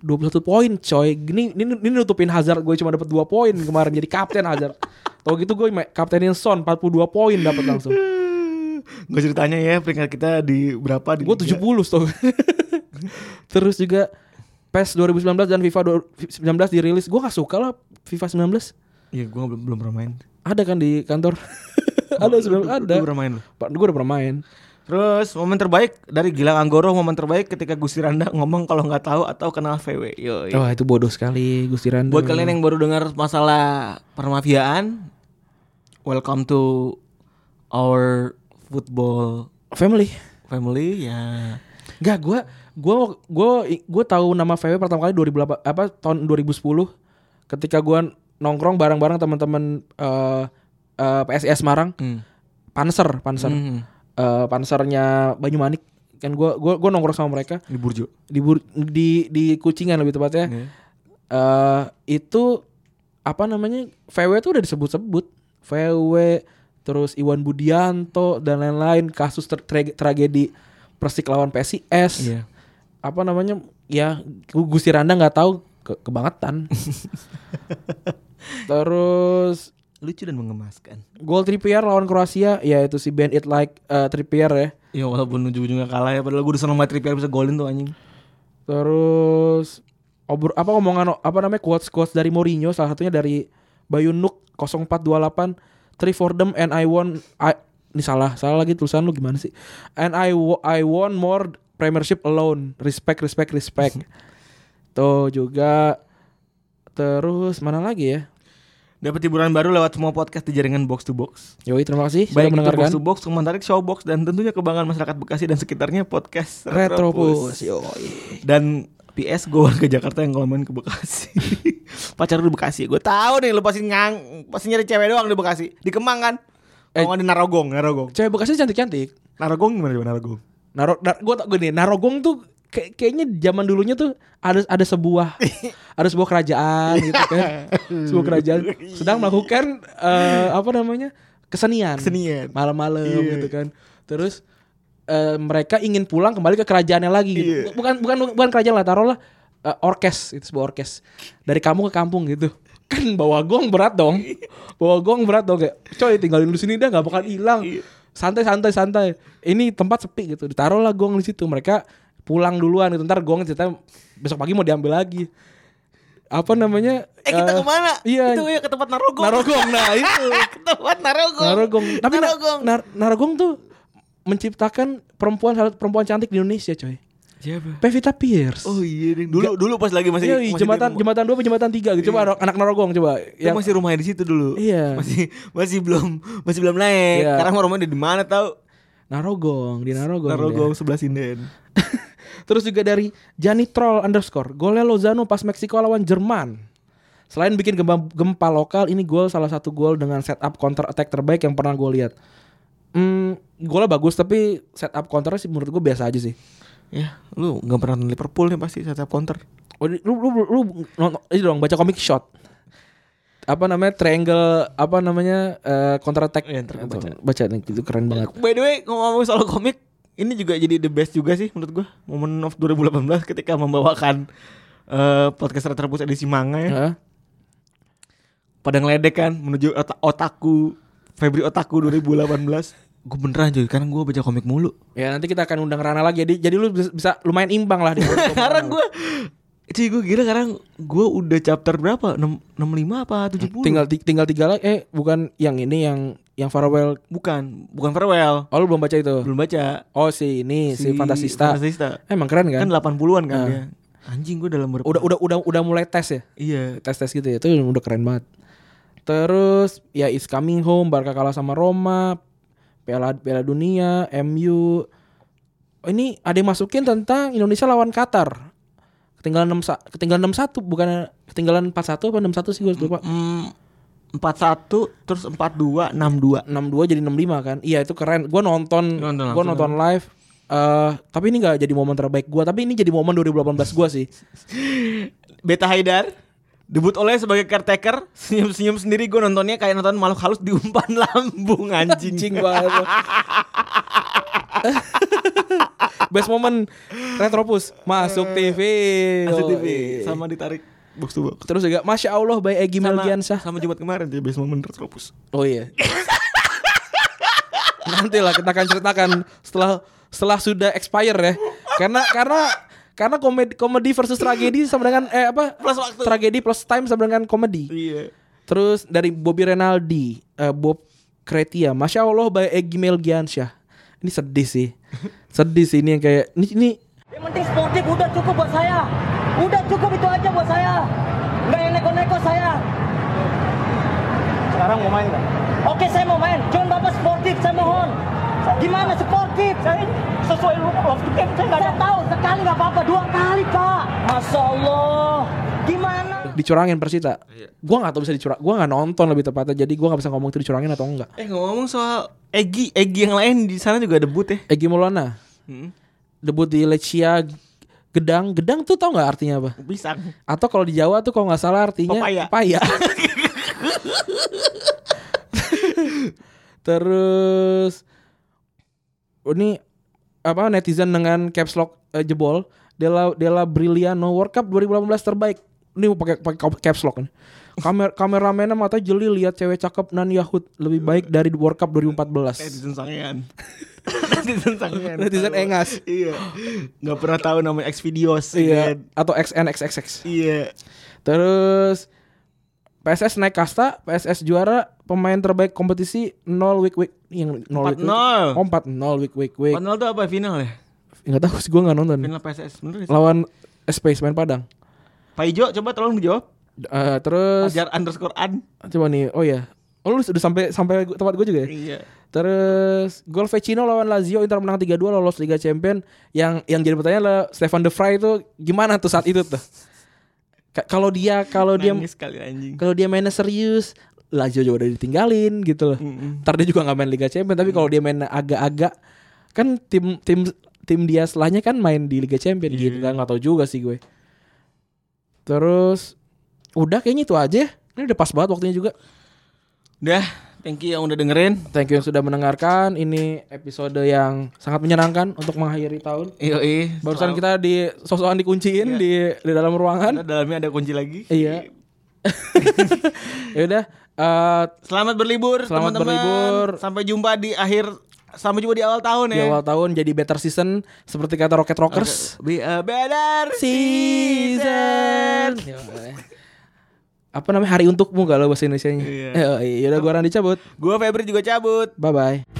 21 poin coy. Ini ini, ini nutupin Hazard gue cuma dapat 2 poin kemarin jadi kapten Hazard. Tau gitu gue ma- kaptenin Son 42 poin dapat langsung.
Gak ceritanya ya peringkat kita di berapa di
Gue
liga.
70 setau gue. Terus juga PES 2019 dan FIFA do- 19 dirilis. Gue gak suka lah FIFA 19.
Iya, gue belum, belum pernah main.
Ada kan di kantor? ada sebelum ada.
Gue pernah main loh.
Pak, gue udah pernah main.
Terus momen terbaik dari Gilang Anggoro momen terbaik ketika Gusti Randa ngomong kalau nggak tahu atau kenal VW. Yoi.
Wah itu bodoh sekali Gusti Randa.
Iya. Buat kalian yang baru dengar masalah permafiaan, welcome to our football
family.
family ya.
Enggak, gue gue gue gue tahu nama VW pertama kali 2008 apa tahun 2010 ketika gue nongkrong bareng-bareng teman-teman eh eh, PSIS Semarang.
Hmm.
Panser, panser.
Mhm.
eh, pansernya Banyumanik kan gue gua gua nongkrong sama mereka
Di Burjo.
di Bur- di di Kucingan lebih tepatnya
Iya.
eh itu apa namanya VW itu udah disebut-sebut VW terus Iwan Budianto dan lain-lain kasus ter- tra- tragedi Persik lawan PSIS
Iya.
apa namanya ya Gu- Gusti Randa nggak tahu ke- kebangetan terus
Lucu dan mengemaskan.
gol Trippier lawan Kroasia ya itu si Ben It Like eh, Trippier ya
Ya walaupun ujung-ujungnya kalah ya padahal gue udah seneng banget Trippier bisa golin tuh anjing.
Terus obro, apa omongan apa namanya quotes quotes dari Mourinho salah satunya dari Bayunuk 0428 three for them and I want I, ini salah salah lagi tulisan lu gimana sih and I wa- I want more Premiership alone respect respect respect tuh juga terus mana lagi ya
Dapat hiburan baru lewat semua podcast di jaringan Box to Box.
Yoi terima kasih sudah
Baik itu
mendengarkan
Box to Box, komentarik Showbox dan tentunya kebanggaan masyarakat Bekasi dan sekitarnya podcast
Retropus
Retropus.
Yoi
Dan PS gue warga Jakarta yang kalau main ke Bekasi. Pacar lu di Bekasi. Gue tahu nih lu pasti ngang pasti nyari cewek doang di Bekasi. Di Kemang kan.
Eh.
Eh. di Narogong, Narogong.
Cewek Bekasi cantik-cantik
Narogong gimana coba Narogong?
Naro, nar, gue tau gini, Narogong tuh kayak- kayaknya zaman dulunya tuh ada ada sebuah ada sebuah kerajaan gitu kan, sebuah kerajaan sedang melakukan eh, apa namanya kesenian,
Kesenian.
malam-malam gitu kan, terus eh, mereka ingin pulang kembali ke kerajaannya lagi, gitu.
Iya.
bukan bukan bukan kerajaan lah, taruhlah eh, orkes itu sebuah orkes dari kampung ke kampung gitu kan bawa gong berat dong bawa gong berat dong kayak coy tinggalin lu sini dah nggak bakal hilang santai santai santai ini tempat sepi gitu ditaruh lah gong di situ mereka pulang duluan gitu ntar gong cerita besok pagi mau diambil lagi apa namanya
Eh kita
eh,
kemana?
iya
Itu ya ke tempat Narogong.
narogong nah itu
ke tempat Eh, Narogong.
narogong tapi na-
Narogong.
nar- narogong tuh menciptakan perempuan salah satu perempuan cantik di Indonesia coy
Siapa?
Pevita Pierce
Oh iya, Ding. dulu dulu pas lagi masih,
Iya,
masih
jembatan
di rumah.
jembatan dua apa jembatan tiga gitu. Coba anak narogong coba.
Itu
Yang
masih rumahnya di situ dulu.
Iya.
Masih masih belum masih belum naik.
Iya.
Sekarang rumahnya di mana tahu?
narogong di narogong.
Narogong
dia.
sebelah sinden.
Terus juga dari Jani Troll underscore. Golnya Lozano pas Meksiko lawan Jerman. Selain bikin gempa, gempa lokal, ini gol salah satu gol dengan setup counter attack terbaik yang pernah gue lihat. Hmm, golnya bagus tapi setup counter sih menurut gue biasa aja sih.
Ya, lu nggak pernah nonton Liverpool nih pasti setiap counter.
Oh, ini- lu lu lu, lu nonton- ini dong baca komik shot. Apa namanya triangle apa namanya eh, counter attack
Iya, ntar gua baca.
baca nih itu keren banget.
By the way, ngomong soal komik, ini juga jadi the best juga sih menurut gua. Momen of 2018 ketika membawakan eh, podcast terpus edisi manga ya.
Heeh.
Pada ngeledek kan menuju ota- otaku Febri Otaku 2018. gue beneran cuy, karena gue baca komik mulu.
Ya nanti kita akan undang Rana lagi. Jadi, jadi lu bisa, bisa lumayan imbang lah di
Karena gue Cuy gue gila sekarang gue udah chapter berapa? 6, 65 apa 70?
tinggal ti- tinggal tiga lagi. Eh bukan yang ini yang yang farewell.
Bukan, bukan farewell.
Oh lu belum baca itu?
Belum baca.
Oh si ini si, Fantasista.
Fantasista.
Emang keren kan?
Kan 80-an kan
Ah.
dia. Anjing gue dalam berapa?
udah udah udah udah mulai tes ya.
Iya.
tes tes gitu ya itu udah keren banget terus ya is coming home Barca kalah sama Roma Piala Piala Dunia MU Oh, ini ada yang masukin tentang Indonesia lawan Qatar ketinggalan 6 sa- ketinggalan 6-1 bukan ketinggalan 4-1 apa 6-1 sih gue lupa
Mm, 41 terus 42 62.
6-2 jadi 6-5 kan iya itu keren gue nonton
Nonton
gue
langsung.
nonton live eh tapi ini gak jadi momen terbaik gue tapi ini jadi momen 2018 gue sih
Beta Haidar debut oleh sebagai caretaker senyum-senyum sendiri gue nontonnya kayak nonton makhluk halus di umpan lambung anjing.
Cing banget lo. Best moment Retropus masuk TV.
Asli TV
Yoi.
sama ditarik box to box.
Terus juga Masya Allah by Egy
Sama,
Melgiansyah.
sama Jumat kemarin dia basement menurut Tropus.
Oh iya. Nanti lah kita akan ceritakan setelah setelah sudah expire ya. Karena karena karena komedi komedi versus tragedi sama dengan eh apa?
Plus waktu.
Tragedi plus time sama dengan komedi.
Iya.
Terus dari Bobby Renaldi, eh, Bob Kretia, Masya Allah by Egy Melgiansyah. Ini sedih sih, sedih sih ini yang kayak ini, ini
Yang penting sportif udah cukup buat saya. Udah cukup itu aja buat saya. Nggak yang neko-neko saya. Sekarang mau main nggak? Oke saya mau main. Cuman bapak sportif saya mohon. Gimana sportif? Saya sesuai rule of the game. Saya, tahu sekali nggak apa-apa. Dua kali pak. Masya Allah. Gimana?
dicurangin Persita.
Iya.
Gua nggak tahu bisa dicurang, gua nggak nonton lebih tepatnya. Jadi gua nggak bisa ngomong itu dicurangin atau enggak.
Eh ngomong soal Egi, Egi yang lain di sana juga debut ya.
Egy Maulana
Hmm.
debut di Lecia Gedang, Gedang tuh tau nggak artinya apa?
Pisang.
Atau kalau di Jawa tuh kalau nggak salah artinya
Pepaya.
Terus ini apa netizen dengan caps lock eh, jebol Della Della Briliano World Cup 2018 terbaik. Ini pakai pakai caps lock nih. Kamer kameramennya mata jeli lihat cewek cakep nan Yahud lebih baik dari World Cup 2014.
Netizen sangean. Netizen sangean.
Netizen
Tahu.
engas.
Iya. Gak pernah tahu namanya X videos.
Iya,
ya kan?
atau XNXXX.
Iya.
Terus PSS naik kasta, PSS juara, pemain terbaik kompetisi 0 week week yang 0 week week.
4-0.
Oh, 4-0 week week week.
Final tuh apa final ya?
Enggak tahu sih gua enggak nonton.
Final PSS bener gak sih?
Lawan Space main Padang.
Pak Ijo coba tolong dijawab.
Eh, terus
Ajar underscore an.
coba nih, oh ya. Oh lu udah sampai sampai gu- tempat gue juga ya.
Iya.
Terus gol Vecino lawan Lazio Inter menang 3-2 lolos Liga Champion. Yang yang jadi pertanyaan lah Stefan De Vrij itu gimana tuh saat itu tuh? Ka- Kalau dia kalau dia
Nangis sekali anjing.
kalau dia mainnya serius Lazio juga udah ditinggalin gitu loh. Ntar dia juga nggak main Liga Champions tapi kalau dia main agak-agak kan tim tim tim dia setelahnya kan main di Liga Champions gitu kan nggak tahu juga sih gue. Terus udah kayaknya itu aja. ya. Ini udah pas banget waktunya juga.
Udah, thank you yang udah dengerin.
Thank you yang sudah mendengarkan. Ini episode yang sangat menyenangkan untuk mengakhiri tahun.
Yoi.
Barusan kita di sosokan dikunciin di di dalam ruangan.
Karena dalamnya ada kunci lagi.
Iya. ya udah eh,
Selamat berlibur
Selamat
teman-teman.
berlibur.
Sampai jumpa di akhir sampai jumpa di awal tahun
di
ya.
awal tahun jadi better season seperti kata Rocket Rockers
Be a better
season. eh.
season.
Apa namanya hari untukmu kalau bahasa Indonesia-nya? Iya.
Iya.
udah gua Randy cabut.
Gua Febri juga cabut.
Bye bye.